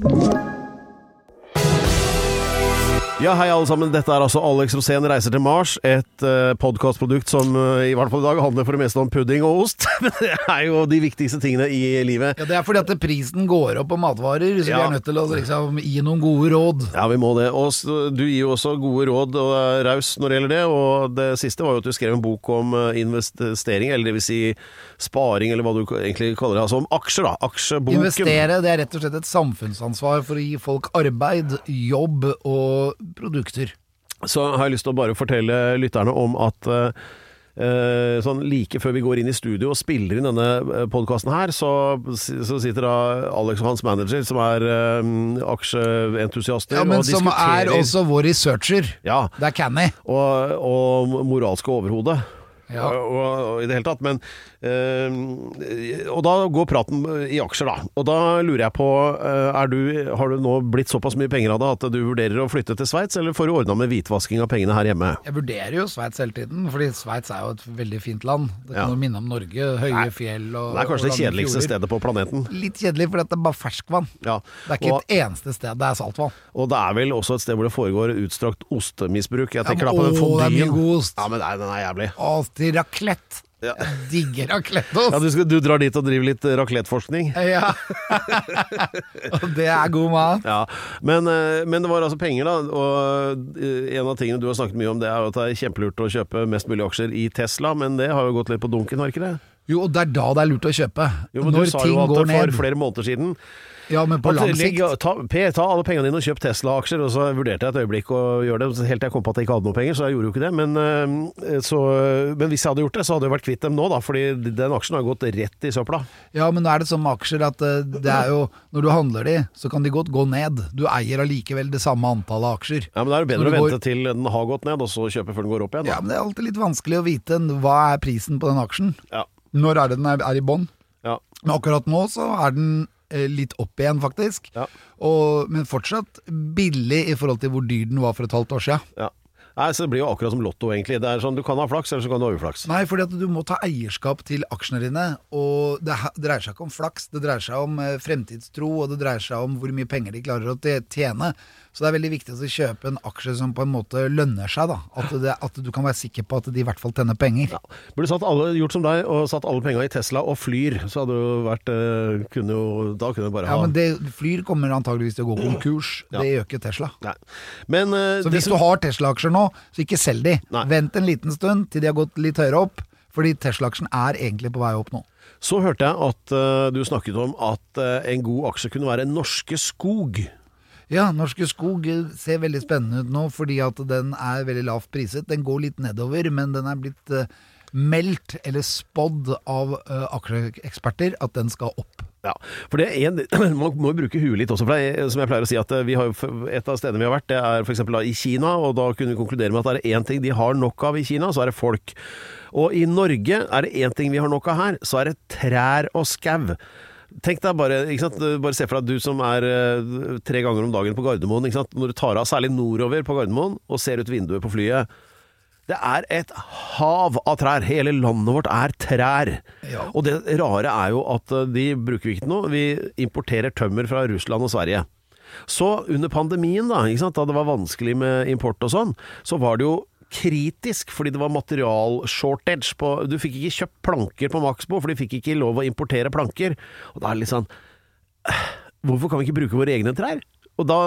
B: Ja, hei alle sammen. Dette er altså Alex Rosén reiser til Mars. Et uh, podkastprodukt som eh, i hvert fall i dag handler for det meste om pudding og ost. <laughs> Men det er jo de viktigste tingene i livet.
C: Ja, Det er fordi at prisen går opp på matvarer, så vi
B: Ja.
C: er nødt til å liksom, gi noen gode råd.
B: Ja, vi må det. Og s- du gir jo også gode råd og er raus når det gjelder det. Og det siste var jo at du skrev en bok om eh, investering, eller det vil si sparing, eller hva du k- egentlig kaller det. Altså om aksjer, da. Aksjeboken.
C: Investere det er rett og slett et samfunnsansvar for å gi folk arbeid, jobb og produkter.
B: Så har jeg lyst til å bare fortelle lytterne om at eh, eh, Sånn Like før vi går inn i studio og spiller inn denne podkasten her, så, så sitter da Alex og hans manager, som er eh, aksjeentusiaster,
C: Ja, men
B: og
C: Som er
B: diskuterer
C: også vår researcher.
B: Ja.
C: Det er Canny.
B: og, og moralske overhodet.
C: Ja.
B: Og, og, og I det hele tatt. Men eh, Og da går praten i aksjer, da. Og da lurer jeg på eh, er du, Har du nå blitt såpass mye penger av det at du vurderer å flytte til Sveits, eller får du ordna med hvitvasking av pengene her hjemme?
C: Jeg vurderer jo Sveits hele tiden, fordi Sveits er jo et veldig fint land. Det
B: Ja.
C: kan jo minne om Norge. Høye fjell og
B: Det er kanskje det
C: og lange
B: kjedeligste
C: fjorder.
B: stedet på planeten.
C: Litt kjedelig, fordi at det er bare ferskvann.
B: Ja.
C: Det er ikke
B: og,
C: et eneste sted det er saltvann.
B: og det er vel også et sted hvor det foregår utstrakt ostemisbruk. Jeg
C: Ja,
B: tenker
C: men
B: da på den
C: å, det er mye
B: fondyen.
C: god ost.
B: Ja, men nei, den er jævlig.
C: Å, til raclette.
B: Ja.
C: Jeg digger
B: Ja,
C: racletteost.
B: du, skal, du drar dit og driver litt rakelettforskning? <laughs>
C: Ja. og det er god mat.
B: Ja, men, eh, men det var altså penger, da. Og eh, en av tingene du har snakket mye om, det er jo at det er kjempelurt å kjøpe mest mulig aksjer i Tesla, men det har jo gått litt på dunken, har ikke det?
C: Jo, og det er da det er lurt å kjøpe.
B: Jo, men
C: Når
B: du sa
C: ting
B: jo at
C: går
B: det for
C: ned.
B: flere måneder siden
C: Ja, men på
B: at,
C: lang
B: legg,
C: sikt.
B: ta, Per, ta alle pengene dine og kjøp Tesla-aksjer, og så vurderte jeg et øyeblikk å gjøre det, helt til jeg kom på at jeg ikke hadde noe penger, så jeg gjorde jo ikke det. Men, eh, så, men hvis jeg hadde gjort det, så hadde jeg vært kvitt dem nå, da, fordi den aksjen har gått rett i søpla.
C: Ja, men nå er det sånn med aksjer at eh, det er jo Når du handler de, så kan de godt gå ned. Du eier allikevel det samme antallet aksjer.
B: Ja, Men det er jo
C: Når
B: bedre å
C: det går-
B: vente til den har gått ned, og så kjøpe før den går opp igjen.
C: Ja,
B: Da.
C: men det er alltid litt vanskelig å vite n- hva er prisen på den aksjen.
B: Ja.
C: Når er det den er, er i bånn?
B: Ja.
C: Men akkurat nå så er den eh, litt opp igjen, faktisk.
B: Ja.
C: Og, men fortsatt billig i forhold til hvor dyr den var for et halvt år siden.
B: Ja. Nei, så Det blir jo akkurat som Lotto, egentlig. Det er sånn, Du kan ha flaks, eller så kan du ha uflaks.
C: Nei, fordi at du må ta eierskap til aksjene dine, og det he- dreier seg ikke om flaks, det dreier seg om eh, fremtidstro, og det dreier seg om hvor mye penger de klarer å te- tjene. Så det er veldig viktig å kjøpe en aksje som på en måte lønner seg, da. At, det, at du kan være sikker på at de i hvert fall tjener penger.
B: Burde satt alle, gjort som deg og satt alle penga i Tesla og flyr, så hadde det jo vært eh, kunne jo, Da kunne du bare
C: Ja,
B: ha
C: men det, Flyr kommer antageligvis til å gå konkurs,
B: Ja.
C: det gjør ikke Tesla.
B: Nei. Men eh,
C: Så
B: det
C: hvis du
B: som-
C: har Tesla-aksjer nå, så ikke selg de.
B: Nei.
C: Vent en liten stund til de har gått litt høyere opp, fordi Tesla-aksjen er egentlig på vei opp nå.
B: så hørte jeg at eh, du snakket om at eh, en god aksje kunne være Norske Skog.
C: Ja, Norske Skog eh, ser veldig spennende ut nå, fordi at den er veldig lavt priset. Den går litt nedover, men den er blitt eh, meldt, eller spådd, av eh, aksjeeksperter at den skal opp.
B: Ja, for det er en, <clears throat> Man må jo bruke huet litt også. for det er, Som jeg pleier å si at eh, vi har, jo- Et av stedene vi har vært, det er f.eks. i Kina. og Da kunne vi konkludere med at er det én ting de har nok av i Kina, så er det folk. Og i Norge er det én ting vi har nok av her, så er det trær og skau. Tenk deg bare, ikke sant? bare se for deg at du som er eh, tre ganger om dagen på Gardermoen. Ikke sant? Når du tar av, særlig nordover på Gardermoen, og ser ut vinduet på flyet. Det er et hav av trær. Hele landet vårt er trær.
C: Ja.
B: Og det rare er jo at eh, de bruker vi ikke til noe. Vi importerer tømmer fra Russland og Sverige. Så under pandemien, da, ikke sant? da det var vanskelig med import og sånn, så var det jo kritisk fordi det var materialshortage på Du fikk ikke kjøpt planker på Maxbo, for de fikk ikke lov å importere planker. Og da er det litt sånn hvorfor kan vi ikke bruke våre egne trær? Og da,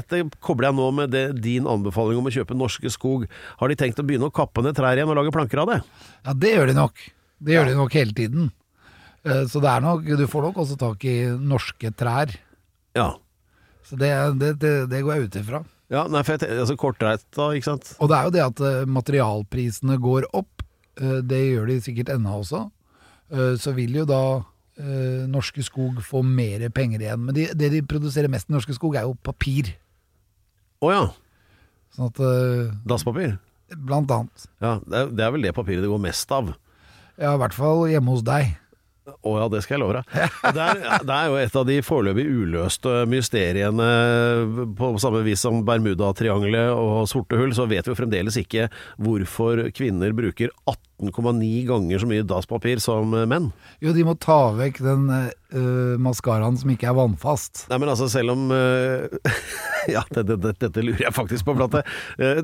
B: Dette kobler jeg nå med det, din anbefaling om å kjøpe Norske Skog. Har de tenkt å begynne å kappe ned trær igjen og lage planker av det?
C: Ja, det gjør de nok. Det gjør de nok hele tiden. Eh, Så det er nok, du får nok også tak i norske trær.
B: Ja.
C: Så det, det, det, det går jeg ut ifra.
B: ja nei, for jeg ten- altså, Kortreist, da, ikke sant?
C: Og det er jo det at eh, materialprisene går opp. eh, Det gjør de sikkert ennå også. Eh, Så vil jo da eh, Norske Skog få mer penger igjen. Men de, det de produserer mest i Norske Skog, er jo papir.
B: Å ja.
C: Sånn at eh,
B: Dasspapir.
C: Blant annet.
B: Ja, det er, det er vel det papiret det går mest av.
C: Ja, i hvert fall hjemme hos deg.
B: Å ja, det skal jeg love deg. Og Det er, det er jo et av de foreløpig uløste mysteriene. På samme vis som Bermudatriangelet og sorte hull, så vet vi jo fremdeles ikke hvorfor kvinner bruker 18,9 ganger så mye dasspapir som menn.
C: Jo, de må ta vekk den uh, maskaraen som ikke er vannfast.
B: Nei, men altså, selv om eh, <laughs> Ja, dette, dette, dette lurer jeg faktisk på, Platte. Eh,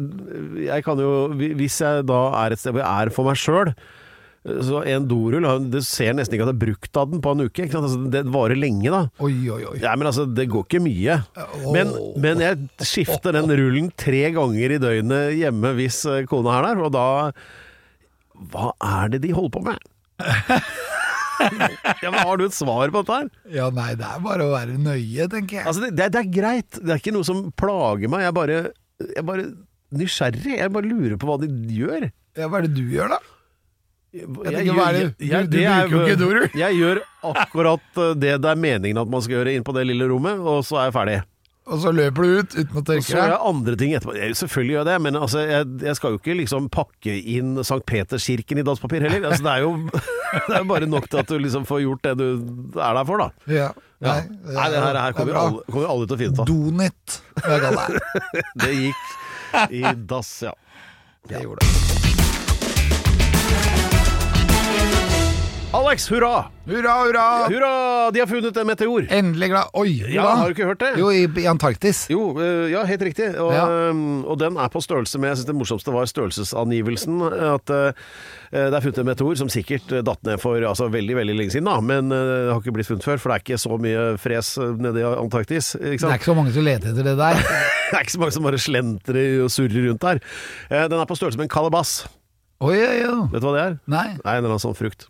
B: jeg kan jo hvi- Hvis jeg da er et sted hvor jeg er for meg sjøl, så en dorull har- Du ser nesten ikke at det er brukt av den på en uke. Ikke sant? Altså, det varer lenge, da.
C: Oi, oi, oi.
B: Nei, men altså, det går ikke mye. Men, men jeg skifter den rullen tre ganger i døgnet hjemme hvis eh, kona er der, og da Hva er det de holder på med? <laughs> ja, men har du et svar på dette her?
C: Ja, nei, det er bare å være nøye, tenker jeg.
B: Altså, det, det, er- det er greit. Det er ikke noe som plager meg. Jeg er bare, jeg er bare nysgjerrig. Jeg bare lurer på hva de gjør.
C: Ja, hva er det du gjør, da?
B: Jeg,
C: tenker, hva er det- du- du
B: det er-
C: bruker jo ikke dorull.
B: <laughs> Jeg gjør akkurat eh, det det er meningen at man skal gjøre inn på det lille rommet, og så er jeg ferdig.
C: Og så løper du ut uten å
B: Og
C: tørke
B: så gjør
C: deg.
B: jeg andre ting etterpå. Jeg, selvfølgelig gjør jeg det, men altså, jeg, jeg skal jo ikke liksom pakke inn St. Peterskirken i danspapir heller. Altså, det er jo <laughs> det er jo bare nok til at du liksom får gjort det du er der for, da.
C: Ja.
B: Ja. Nei,
C: det er-
B: det her, her kommer
C: det
B: jo
C: er bra.
B: alle, kommer jo alle til å finne ut av.
C: Donut, hva jeg kaller det.
B: Det gikk i dass, ja.
C: Jeg gjorde det.
B: Alex, hurra!
C: Hurra, hurra!
B: Hurra, de har funnet en meteor!
C: Endelig glad. Oi, hvor
B: Ja,
C: da?
B: har du ikke hørt det?
C: Jo, i, i Antarktis.
B: Jo, eh, ja, helt riktig. Og,
C: Ja.
B: eh, og den er på størrelse med Jeg syns det morsomste var størrelsesangivelsen. At eh, det er funnet en meteor som sikkert eh, datt ned for altså, veldig veldig lenge siden, da. Men eh, det har ikke blitt funnet før, for det er ikke så mye fres eh, nede i Antarktis. Ikke
C: Det
B: sant?
C: er ikke så mange som leter etter det der.
B: <laughs>
C: <laughs>
B: Det er ikke så mange som bare slentrer og surrer rundt der. Eh, Den er på størrelse med en kalabass.
C: Oi, oi, oi.
B: Vet du hva det er?
C: Nei.
B: Nei, en eller annen sånn frukt.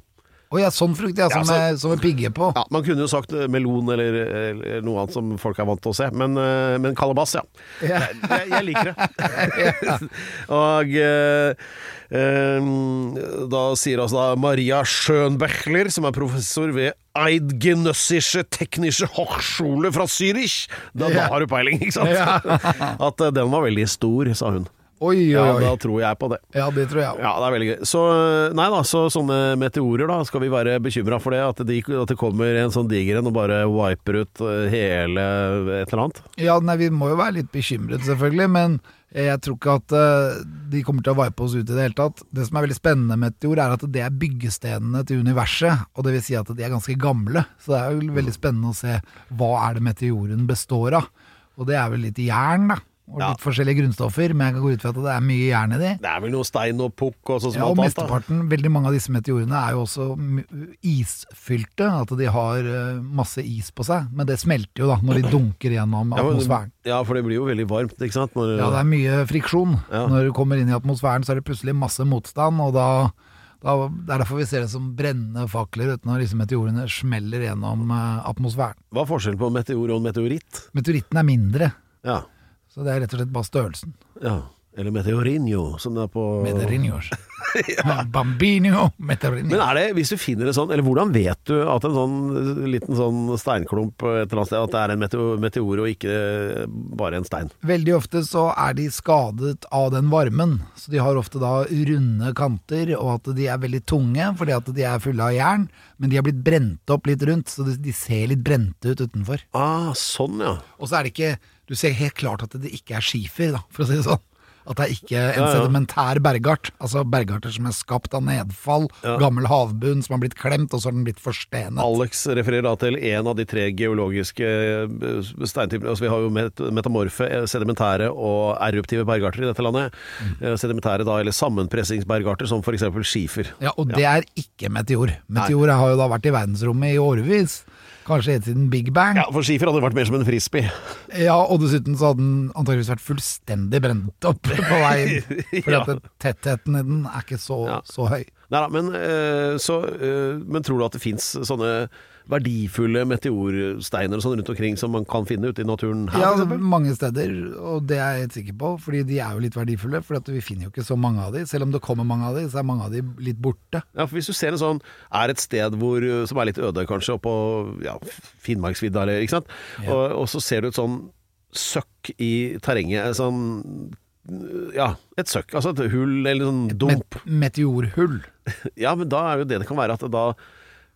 C: Oi, ja, sånn frukt, ja. Som,
B: Ja, så-
C: er, som er pigge på.
B: Ja, Man kunne jo sagt eh, melon eller, eller noe annet som folk er vant til å se, men, eh, men kalabass, ja.
C: Ja.
B: Jeg, jeg- jeg liker
C: <laughs>
B: det. <laughs> og eh, eh, da sier altså da Maria Schönbechler, som er professor ved Eidgenössische Technische Hochschule fra Zürich Da, da
C: Ja.
B: <laughs> har du peiling, ikke sant?
C: Ja.
B: At eh, den var veldig stor, sa hun.
C: Oi,
B: Ja,
C: oi,
B: da
C: oi.
B: tror jeg på det.
C: Ja, det tror jeg.
B: Ja, det er veldig gøy. Så, eh, nei da, så sånne meteorer, da, skal vi være bekymra for det? At, de, at det kommer en sånn diger en og bare wiper ut eh, hele et eller annet?
C: Ja, nei, vi må jo være litt bekymret selvfølgelig, men jeg tror ikke at eh, de kommer til å vipe oss ut i det hele tatt. Det som er veldig spennende med meteor, er at det er byggestenene til universet, og det vil si at de er ganske gamle. Så det er jo veldig spennende å se hva er det meteoren består av. Og det er vel litt jern, da. Og
B: Ja.
C: litt forskjellige grunnstoffer, men jeg går ut fra at det er mye jern i de.
B: Det er vel noe stein og pukk og sånn som
C: Ja, og
B: alt annet, da.
C: mesteparten, veldig mange av disse meteorene er jo også m- isfylte, at de har eh, masse is på seg, men det smelter jo da
B: <clears throat>
C: når de dunker gjennom
B: Ja, men-
C: atmosfæren.
B: Ja, for det blir jo veldig varmt, ikke sant? Når,
C: Ja, det er mye friksjon.
B: Ja.
C: Når du kommer inn i atmosfæren, så er det plutselig masse motstand, og da, da Det er derfor vi ser det som brennende fakler uten når liksom meteorene smeller gjennom eh, atmosfæren.
B: Hva er forskjellen på meteor og en meteoritt?
C: Meteoritten er mindre,
B: Ja.
C: så det er rett og slett bare størrelsen.
B: ja. Eller meteorinho, som det er på <laughs>
C: Meteorinios. Bambino meteorinio.
B: Men er det, hvis du finner en sånn, eller hvordan vet du at en sånn eh, liten sånn steinklump et eller annet sted, at det er en meteor, meteor og ikke eh, bare en stein?
C: Veldig ofte så er de skadet av den varmen, så de har ofte da runde kanter, og at de er veldig tunge fordi at de er fulle av jern, men de har blitt brent opp litt rundt, så de, de ser litt brente ut utenfor.
B: Ah, sånn ja.
C: Og så er det ikke Du ser helt klart at det ikke er skifer, da, for å si det sånn. At det er ikke en
B: Ja, ja.
C: sedimentær bergart. Altså bergarter som er skapt av nedfall, gammel havbunn som har blitt klemt, og så har den blitt forstenet.
B: Alex refererer da til en av de tre geologiske eh, steintypene. Altså, vi har jo met metamorfe, eh, sedimentære og eruptive bergarter i dette landet. Eh, Sedimentære da, eller sammenpressingsbergarter, som f.eks. skifer.
C: Ja, og det er ikke meteor. Meteor har jo da vært i verdensrommet i årevis. Kanskje helt siden Big Bang.
B: Ja,
C: Ja,
B: for skifer hadde vært mer som en frisbee.
C: Og dessuten så hadde den antakeligvis vært fullstendig brent opp <laughs> på vei
B: <laughs>
C: inn. For
B: Ja.
C: at det- tettheten i den er ikke så,
B: Ja.
C: så høy.
B: Nei da, men, eh, så, eh, men tror du at det fins sånne verdifulle meteorsteiner og sånn rundt omkring som man kan finne ute i naturen her?
C: Ja,
B: for eksempel?
C: mange steder, og det er jeg helt sikker på, fordi de er jo litt verdifulle, for vi finner jo ikke så mange av de. Selv om det kommer mange av de, så er mange av de litt borte.
B: Ja, for Hvis du ser en sånn Er et sted hvor, eh, som er litt øde, kanskje, oppå ja, Finnmarksvidda, eller ikke sant, og, og så ser du et sånn søkk i terrenget. et Sånn ja, et søkk. Altså et hull eller sånn dump.
C: Met meteorhull.
B: Ja, men da er jo det det kan være at det da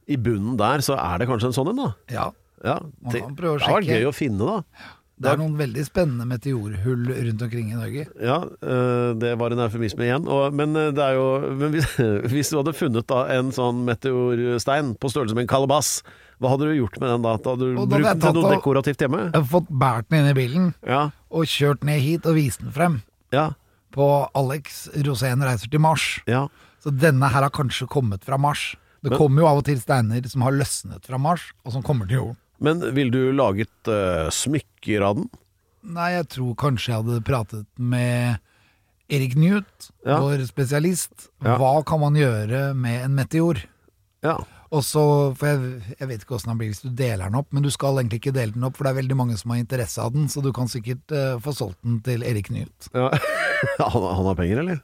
B: I bunnen der så er det kanskje en sånn en, da.
C: Ja,
B: Ja,
C: Man
B: det,
C: kan
B: det
C: prøve å
B: var
C: sjekke.
B: gøy å finne, da.
C: det er noen veldig spennende meteorhull rundt omkring i Norge.
B: Ja, øh, det var en eufemisme igjen. Og, men øh, det er jo men hvis, <laughs> hvis du hadde funnet da en sånn meteorstein på størrelse med en kalabass, hva hadde du gjort med den da? Da hadde du
C: Og da
B: brukt
C: hadde
B: den
C: jeg
B: til
C: tatt
B: noe
C: og-
B: dekorativt hjemme?
C: Jeg har fått bært den inn i bilen,
B: Ja.
C: og kjørt ned hit og vist den frem
B: Ja.
C: på Alex Rosén reiser til Mars.
B: ja.
C: Så denne her har kanskje kommet fra Mars. Det
B: Men-
C: kommer jo av og til steiner som har løsnet fra Mars, og som kommer til jorden.
B: Men ville du laget øh, smykker av den?
C: Nei, jeg tror kanskje jeg hadde pratet med Erik Newt,
B: Ja.
C: vår spesialist.
B: Ja.
C: Hva kan man gjøre med en meteor?
B: Ja.
C: Og så, for jeg, jeg vet ikke åssen den blir hvis du deler den opp, men du skal egentlig ikke dele den opp, for det er veldig mange som har interesse av den, så du kan sikkert eh, få solgt den til Erik Newt.
B: ja. <laughs> han, han har penger, eller?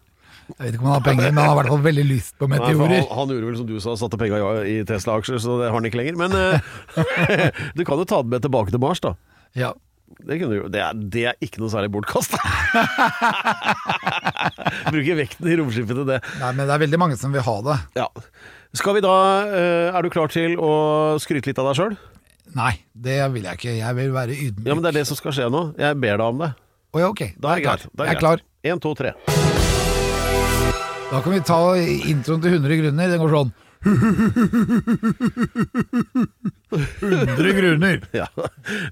C: Jeg vet ikke om han har penger, men han har i hvert fall veldig lyst på
B: Nei, for han,
C: meteorer.
B: han gjorde vel som du sa, satte penga i i Tesla-aksjer, så det har han ikke lenger. Men øh, <laughs> du kan jo ta den med tilbake til Mars, da.
C: Ja.
B: Det, kunne du, gjort. det, er, det er ikke noe særlig bortkast. <laughs> Bruke vekten i romskipet til det.
C: Nei, men det er veldig mange som vil ha det.
B: Ja. Skal vi da eh, Er du klar til å skryte litt av deg sjøl?
C: Nei, det vil jeg ikke. Jeg vil være ydmyk.
B: Ja, men det er det som skal skje nå. Jeg ber deg om det.
C: Å ja, ok.
B: Da er jeg
C: klar.
B: klar. Da
C: Jeg er klar.
B: Én, to, tre.
C: Da kan vi ta introen til 100 grunner. Den går sånn 100 grunner.
B: <laughs> Ja,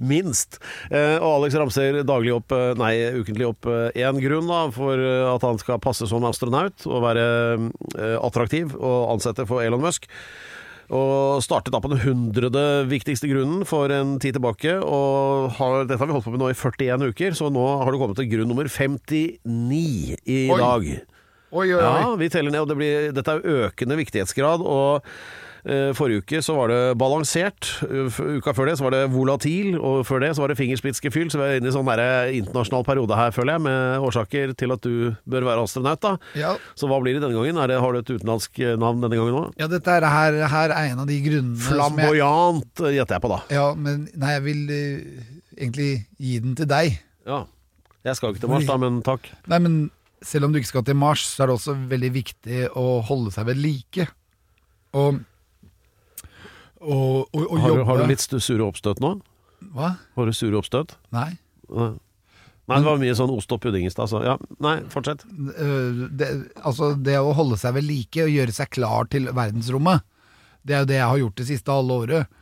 B: minst. Eh, og Alex ramser daglig opp, eh, nei, ukentlig opp eh, én grunn da, for eh, at han skal passe som astronaut og være eh, attraktiv og ansette for Elon Musk. Og startet da på den hundrede viktigste grunnen for en tid tilbake. Og har, dette har vi holdt på med nå i 41 uker, så nå har du kommet til grunn nummer 59 i
C: Oi.
B: dag.
C: Oi, oi, oi.
B: Ja, vi teller ned, og det blir, dette er økende viktighetsgrad. Og eh, forrige uke så var det balansert. U- f- Uka før det så var det volatil, og før det så var det fingerspitzgefühl. Så vi er inne i sånn derre internasjonal periode her, føler jeg, med årsaker til at du bør være astronaut, da.
C: Ja.
B: Så hva blir det denne gangen? Er det, har du et utenlandsk eh, navn denne gangen òg?
C: ja, dette er, her, her er en av de grunnene som jeg
B: Flamboyant eh, gjetter jeg på, da.
C: Ja, men nei, jeg vil eh, egentlig gi den til deg.
B: Ja. Jeg skal jo ikke til Mars, da, men takk.
C: Nei, men selv om du ikke skal til Mars, så er det også veldig viktig å holde seg ved like. Og, og, og, og
B: Har, du-
C: jobbe
B: har du litt stu- sure oppstøt nå?
C: Hva?
B: Har du sure oppstøt?
C: Nei.
B: Nei, Nei, det var mye sånn ost og pudding i stad, så ja. Nei, fortsett.
C: Øh, det, altså det å holde seg ved like og gjøre seg klar til verdensrommet, det er jo det jeg har gjort det siste halve året.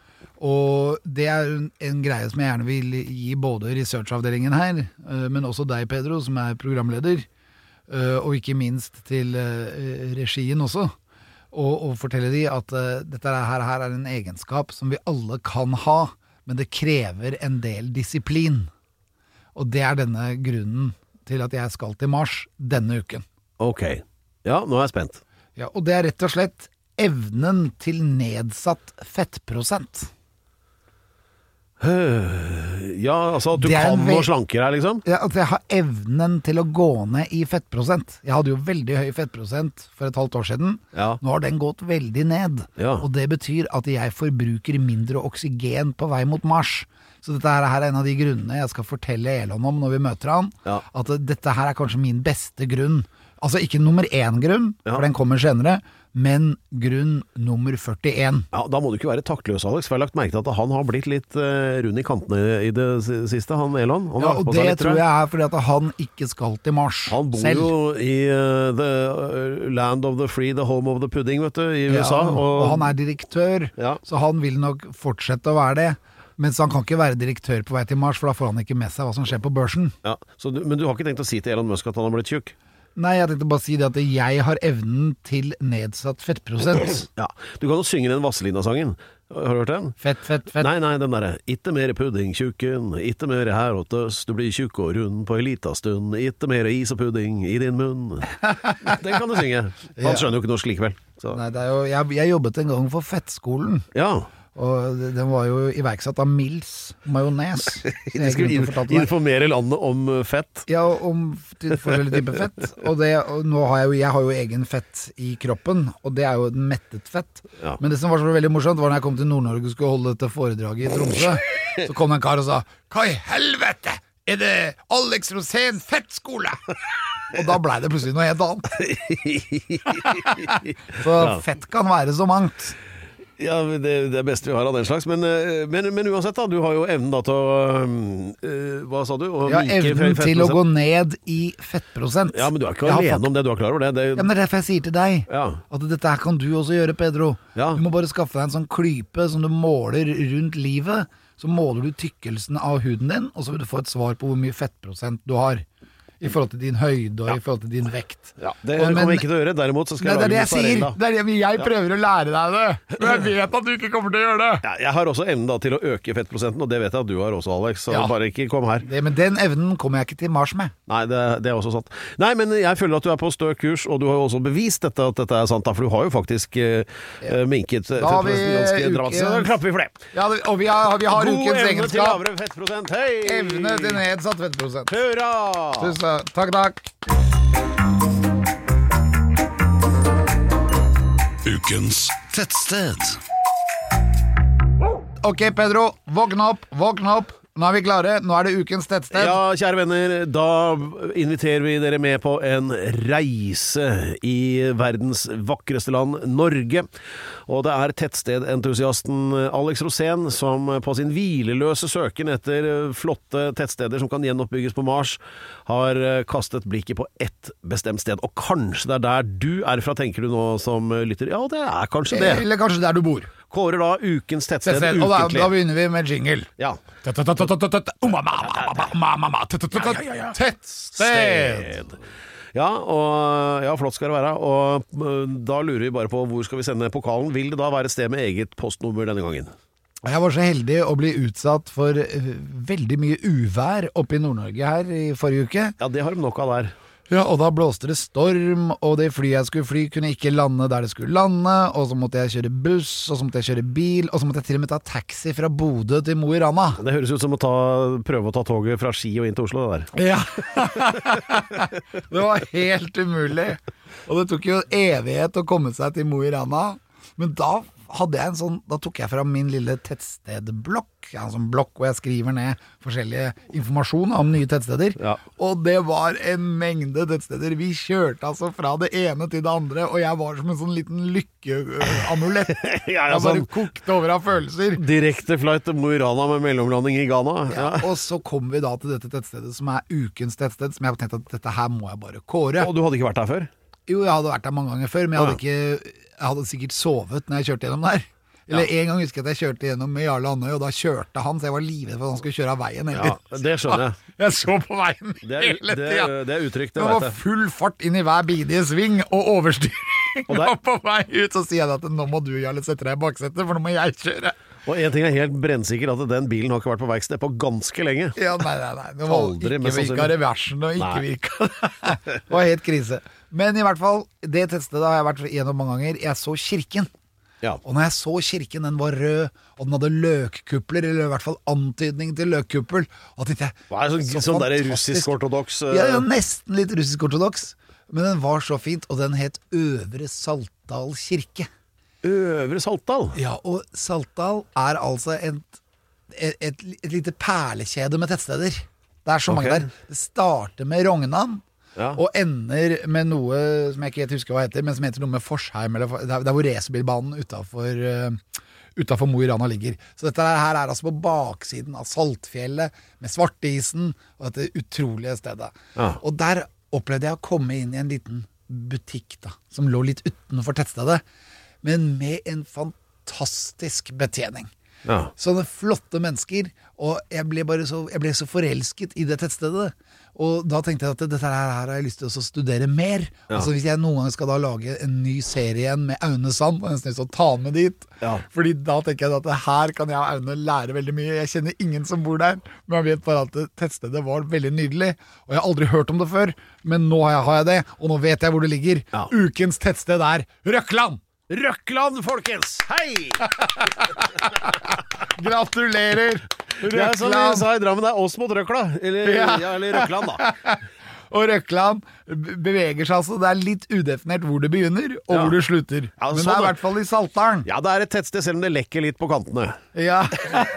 C: Og det er en, en greie som jeg gjerne vil gi både researchavdelingen her, øh, men også deg, Pedro, som er programleder, øh, og ikke minst til øh, regien også. Og, og fortelle de at øh, dette her, her er en egenskap som vi alle kan ha, men det krever en del disiplin. Og det er denne grunnen til at jeg skal til Mars denne uken.
B: Ok. Ja, nå er jeg spent.
C: Ja, og det er rett og slett evnen til nedsatt fettprosent.
B: Ja, altså at du
C: Det er en
B: kan
C: ve-
B: noe slankere her, liksom?
C: Ja, at jeg har evnen til å gå ned i fettprosent. Jeg hadde jo veldig høy fettprosent for et halvt år siden.
B: Ja.
C: Nå har den gått veldig ned.
B: Ja.
C: Og det betyr at jeg forbruker mindre oksygen på vei mot Mars. Så dette her er en av de grunnene jeg skal fortelle Elon om når vi møter han.
B: Ja.
C: At dette her er kanskje min beste grunn. Altså ikke nummer én grunn,
B: Ja.
C: for den kommer senere, men grunn nummer 41.
B: Ja, Da må du ikke være taktløs, Alex. For jeg har lagt merke til at han har blitt litt eh, rund i kantene i det si- siste, han Elon. Han
C: Ja,
B: har lagt
C: og
B: på seg
C: det
B: litt,
C: tror jeg er fordi at han ikke skal til Mars
B: Han bor
C: selv.
B: jo i eh, the eh, land of the free, the home of the pudding, vet du, i USA.
C: Ja, og...
B: og
C: han er direktør,
B: Ja.
C: så han vil nok fortsette å være det. Mens han kan ikke være direktør på vei til Mars, for da får han ikke med seg hva som skjer på børsen.
B: ja, så du, men du har ikke tenkt å si til Elon Musk at han har blitt tjukk?
C: Nei, jeg tenkte bare å si det at jeg har evnen til nedsatt
B: <clears throat>
C: fettprosent.
B: Ja. Du kan jo synge den Vazelina-sangen. Har du hørt den?
C: Fett, fett, fett.
B: Nei, nei, den derre Itte mere pudding, tjukken, itte mere her åt oss, du blir tjukk og rund på ei lita stund, itte mere is og pudding i din <laughs> munn. Den kan du synge. Han skjønner jo ikke norsk likevel. Så.
C: Nei, det er jo, jeg, jeg jobbet en gang for Fettskolen,
B: Ja.
C: og det- den var jo iverksatt av Mills majones. som
B: <laughs>
C: jeg
B: De skulle in-
C: glemte å fortelle deg.
B: informere landet om uh, fett.
C: Ja, om til
B: <laughs>
C: forskjellige typer fett. Og, det, og nå har jeg, jo, jeg har jo egen fett i kroppen, og det er jo et mettet fett.
B: Ja.
C: Men det som var så veldig morsomt, var når jeg kom til Nord-Norge og skulle holde dette foredraget i Tromsø. Så kom det en kar og sa Hva i helvete? Er det Alex Rosén fettskole? Og da blei det plutselig noe
B: <laughs>
C: helt annet. Så fett kan være så mangt.
B: Ja, det, det er beste vi har av den slags. Men, uh, men, men uansett, da. Du har jo evnen da til å um, uh, Hva sa du? Å
C: Jeg har
B: myke
C: evnen
B: fe-
C: til å
B: fettprosent.
C: gå ned i fettprosent.
B: Ja, men du er ikke
C: Jeg har
B: alene
C: fått-
B: om det. Du er klar over det. det
C: Ja, men Det er derfor jeg sier til deg
B: Ja.
C: at dette her kan du også gjøre, Pedro.
B: Ja.
C: Du må bare skaffe deg en sånn klype som du måler rundt livet. Så måler du tykkelsen av huden din, og så vil du få et svar på hvor mye fettprosent du har. I forhold til din høyde og i forhold til din vekt.
B: ja, det
C: Og-
B: kommer
C: men-
B: jeg ikke til å gjøre. Derimot så skal
C: Nei, det er det
B: jeg
C: jeg
B: lage
C: sier!
B: mozzarella.
C: Det er det, men jeg prøver å lære deg det! Men jeg
B: <laughs>
C: vet at du ikke kommer til å gjøre det!
B: Ja, jeg har også evnen da til å øke fettprosenten, og det vet jeg at du har også, Alex. Så
C: Ja.
B: bare ikke kom her.
C: det men den evnen kommer jeg ikke til Mars med.
B: Nei, det, det er også sant. Nei, men jeg føler at du er på stø kurs, og du har jo også bevist dette, at dette er sant, da, for du har jo faktisk eh, eh, minket eh,
C: Da har vi
B: fettprosenten ganske
C: ukens-
B: dramatisk. Så Da klapper vi for det.
C: Ja, det- og vi har, vi har
B: God
C: ukens
B: evne til
C: egenskap.
B: lavere fettprosent. Hei!
C: Evne til nedsatt fettprosent.
B: Hurra!
C: Tusen takk, takk.
A: Ukens tettsted.
C: Ok, Pedro. Våkne opp, våkne opp. Nå er vi klare. Nå er det ukens tettsted.
B: Ja, kjære venner, da inviterer vi dere med på en reise i verdens vakreste land, Norge. Og det er tettstedentusiasten Alex Rosén som på sin hvileløse søken etter flotte tettsteder som kan gjenoppbygges på Mars, har eh, kastet blikket på ett bestemt sted. Og kanskje det er der du er fra, tenker du nå som lytter. Ja, det er kanskje det.
C: Eller kanskje der du bor.
B: Kårer da ukens tettsted
C: Eh, Tettsted. Og da, da
B: ukentlig.
C: begynner vi med jingle.
B: Ja.
C: Tettsted.
B: sted. Ja, og, ja, flott skal det være. Og øh, da lurer vi bare på hvor skal vi sende pokalen. Vil det da være et sted med eget postnummer denne gangen?
C: Jeg var så heldig å bli utsatt for eh, veldig mye uvær oppe i Nord-Norge her i forrige uke.
B: Ja, det har de nok av der.
C: Ja, og da blåste det storm, og det flyet jeg skulle fly kunne ikke lande der det skulle lande, og så måtte jeg kjøre buss, og så måtte jeg kjøre bil, og så måtte jeg til og med ta taxi fra Bodø til Mo i Rana.
B: Det høres ut som å ta, prøve å ta toget fra Ski og inn til Oslo, det der.
C: Ja. <laughs> det var helt umulig. Og det tok jo evighet å komme seg til Mo i Rana. Men da hadde jeg en sånn, da tok jeg fram min lille tettstedblokk. Jeg har en sånn blokk hvor jeg skriver ned forskjellige informasjon om nye tettsteder.
B: Ja.
C: Og det var en mengde tettsteder. Vi kjørte altså fra det ene til det andre, og jeg var som en sånn liten lykkeamulett.
B: <laughs> Ja, ja,
C: jeg bare
B: sånn.
C: kokte over av følelser.
B: Direkte flight til Mo i Rana med mellomlanding i Ghana. Ja.
C: Ja, <laughs> og så kom vi da til dette tettstedet, som er ukens tettsted, som jeg har tenkt at dette her må jeg bare kåre.
B: Og du hadde ikke vært der før?
C: Jo, jeg hadde vært der mange ganger før, men jeg hadde, ikke, jeg hadde sikkert sovet når jeg kjørte gjennom der. Eller en gang husker jeg at jeg kjørte gjennom med Jarle Andøy, og da kjørte han, så jeg var livredd for at han skulle kjøre av veien.
B: Ja,
C: Eller?
B: Det skjønner jeg.
C: <laughs> Jeg så på veien
B: Det er,
C: hele
B: det
C: tida.
B: er, det er utrygt, det
C: Det
B: veit
C: var
B: jeg.
C: full fart inn i hver bidige sving og overstyring.
B: Og
C: <laughs> Og
B: der-
C: på vei ut så sier jeg at nå må du, Jarle, sette deg i baksetet, for nå må jeg kjøre.
B: Og én ting er helt brennsikker, at den bilen har ikke vært på verksted på ganske lenge.
C: Ja, nei, nei, nei. Det var
B: Aldri, men
C: ikke virka
B: sannsynlig-
C: reversen, og ikke
B: Nei.
C: virka
B: <laughs>
C: Det var helt krise. Men i hvert fall, det tettstedet har jeg vært gjennom mange ganger. Jeg så kirken.
B: Ja.
C: Og når jeg så kirken, den var rød, og den hadde løkkupler, eller i hvert fall antydning til løkkuppel. Og da tenkte jeg,
B: Hva er sånn- sånn der russisk-ortodoks, eh?
C: Ja, ja, nesten litt russisk-ortodoks. Men den var så fint, og den het Øvre Saltdal kirke.
B: eh, Øvre Saltdal.
C: Ja, og Saltdal er altså et, et, et, et lite perlekjede med tettsteder. Det er så mange
B: Ok.
C: der. Det starter med Rognan.
B: Ja.
C: Og ender med noe som jeg ikke helt husker hva heter, men som heter noe med Forsheim. Eller, for- det er det er hvor racerbilbanen utafor eh, Utafor Mo i Rana ligger. Så dette her er altså på baksiden av Saltfjellet, med svartisen og dette utrolige stedet.
B: Ja.
C: Og der opplevde jeg å komme inn i en liten butikk da, som lå litt utenfor tettstedet, men med en fantastisk betjening.
B: Ja.
C: Sånne flotte mennesker, og jeg ble, bare så, jeg ble så forelsket i det tettstedet. Og da tenkte jeg at dette her, her har jeg lyst til å studere mer.
B: Ja.
C: Altså Hvis jeg noen gang skal da lage en ny serie igjen med Aune Sand, og nesten lyst til å ta han med dit.
B: Ja.
C: Fordi da tenker jeg at det her kan jeg og Aune lære veldig mye. Jeg kjenner ingen som bor der, men jeg vet bare at det tettstedet var veldig nydelig. Og jeg har aldri hørt om det før, men nå har jeg, har jeg det, og nå vet jeg hvor det ligger.
B: Ja.
C: Ukens tettsted er Røkland!
B: Røkland, folkens! Hei!
C: Gratulerer!
B: <laughs> Det er som vi
C: Røkland!
B: sa i Drammen, det er oss mot Røkla. Eller, ja.
C: Ja.
B: eller Røkland, da.
C: Og Røkland be- beveger seg altså. Det er litt udefinert hvor det begynner, og
B: Ja.
C: hvor det slutter.
B: Ja,
C: men det
B: sånn,
C: er i
B: da.
C: hvert fall i Saltdalen.
B: <laughs> Ja, det er et tettsted, selv om det lekker litt på kantene.
C: Ja.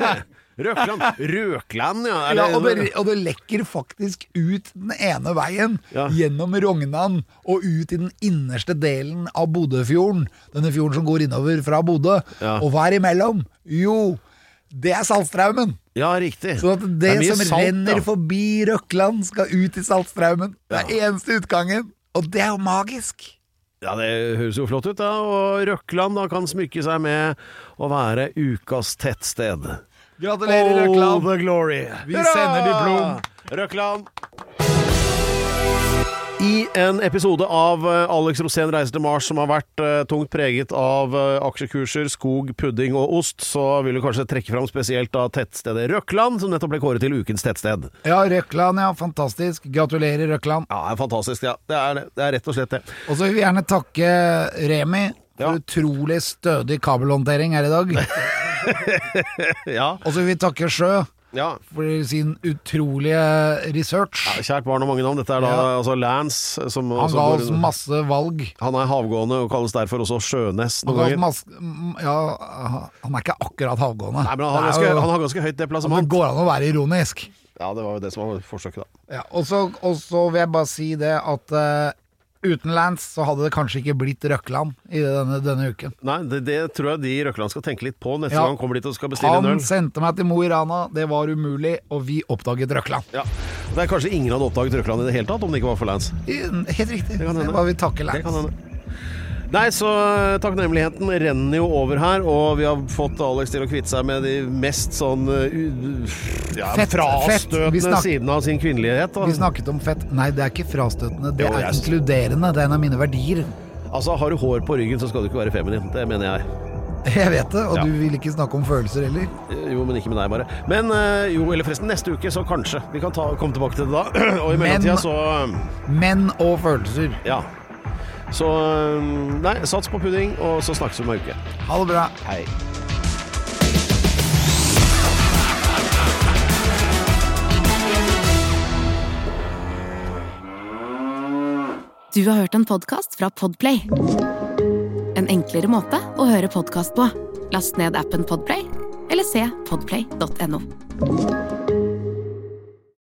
B: <laughs> Røkland. Røkland, ja.
C: Ja,
B: Eller-
C: og, det, og det lekker faktisk ut den ene veien,
B: Ja.
C: gjennom Rognan og ut i den innerste delen av Bodøfjorden. Denne fjorden som går innover fra Bodø.
B: Ja.
C: Og hva er imellom? Jo, det er Saltstraumen.
B: ja, riktig.
C: Så at det,
B: er mye
C: som
B: salt,
C: renner
B: ja.
C: forbi Røkland, skal ut i Saltstraumen. Det er eneste utgangen. Og det er jo magisk.
B: Ja, det høres jo flott ut, da. Og Røkland da kan smykke seg med å være ukas tettsted. All
C: Gratulerer, Røkland.
B: the glory.
C: Vi sender diplom.
B: Røkland. I en episode av eh, Alex Rosén reiser til Mars som har vært eh, tungt preget av eh, aksjekurser, skog, pudding og ost, så vil du kanskje trekke fram spesielt da tettstedet Røkland, som nettopp ble kåret til ukens tettsted.
C: Ja, Røkland, ja. Fantastisk. Gratulerer, Røkland.
B: Ja, det er fantastisk. Ja. Det, er, det. det er rett og slett det.
C: Og så vil vi gjerne takke Remi for
B: Ja.
C: utrolig stødig kabelhåndtering her i
B: <laughs>
C: dag.
B: Ja.
C: Og så vil vi takke Sjø
B: ja.
C: for sin utrolige research.
B: Kjært barn og mange navn. Dette er da
C: Ja.
B: altså Lance som
C: Han
B: som
C: ga
B: går
C: oss
B: under-
C: masse valg.
B: Han er havgående og kalles derfor også Sjønes
C: Han,
B: noen
C: ga oss
B: ganger.
C: masse, mm, ja, han er ikke akkurat havgående.
B: Nei, men han har,
C: Det er
B: ganske,
C: jo-
B: han har ganske høyt
C: det
B: deplassement.
C: går an å være ironisk.
B: Ja, det var jo det som var forsøket, da.
C: Ja, og så og så vil jeg bare si det at eh, utenlands så hadde det kanskje ikke blitt Røkland i denne, denne uken.
B: Nei, det, det tror jeg de i Røkland skal tenke litt på neste
C: Ja.
B: gang han kommer dit og skal bestille en øl.
C: Han sendte meg til Mo i Rana, det var umulig, og vi oppdaget Røkland.
B: Ja. Det er kanskje ingen hadde oppdaget Røkland i det hele tatt om det ikke var for Lance.
C: I- Helt riktig.
B: kan hende.
C: Jeg bare vil takke
B: Det
C: Lance.
B: kan hende. Nei, så eh, takknemligheten renner jo over her, og vi har fått Alex til å kvitte seg med de mest sånn eh, u- ja,
C: Fett, fett. Vi
B: frastøtende
C: snakker-
B: sidene av sin kvinnelighet. Da.
C: Vi snakket om fett. Nei, det er ikke frastøtende, det
B: Jo,
C: er
B: jeg-
C: inkluderende. Det er en av mine verdier. <laughs>
B: Altså, har du hår på ryggen, så skal du ikke være feminin. Det mener jeg.
C: Jeg vet det, og
B: Ja.
C: du vil ikke snakke om følelser heller.
B: Jo, men ikke med deg, bare. Men eh, jo, eller forresten, neste uke, så kanskje. Vi kan ta, komme tilbake til det da. <clears throat> Og i
C: Men-
B: mellomtida så eh,
C: Menn og følelser.
B: Ja. Så eh, Nei, sats på pudding, og så snakkes vi om ei uke.
C: Ha det bra.
B: Hei.
E: Du har hørt en podcast fra Podplay En enklere måte å høre podkast på. Last ned appen Podplay, eller se podplay.no.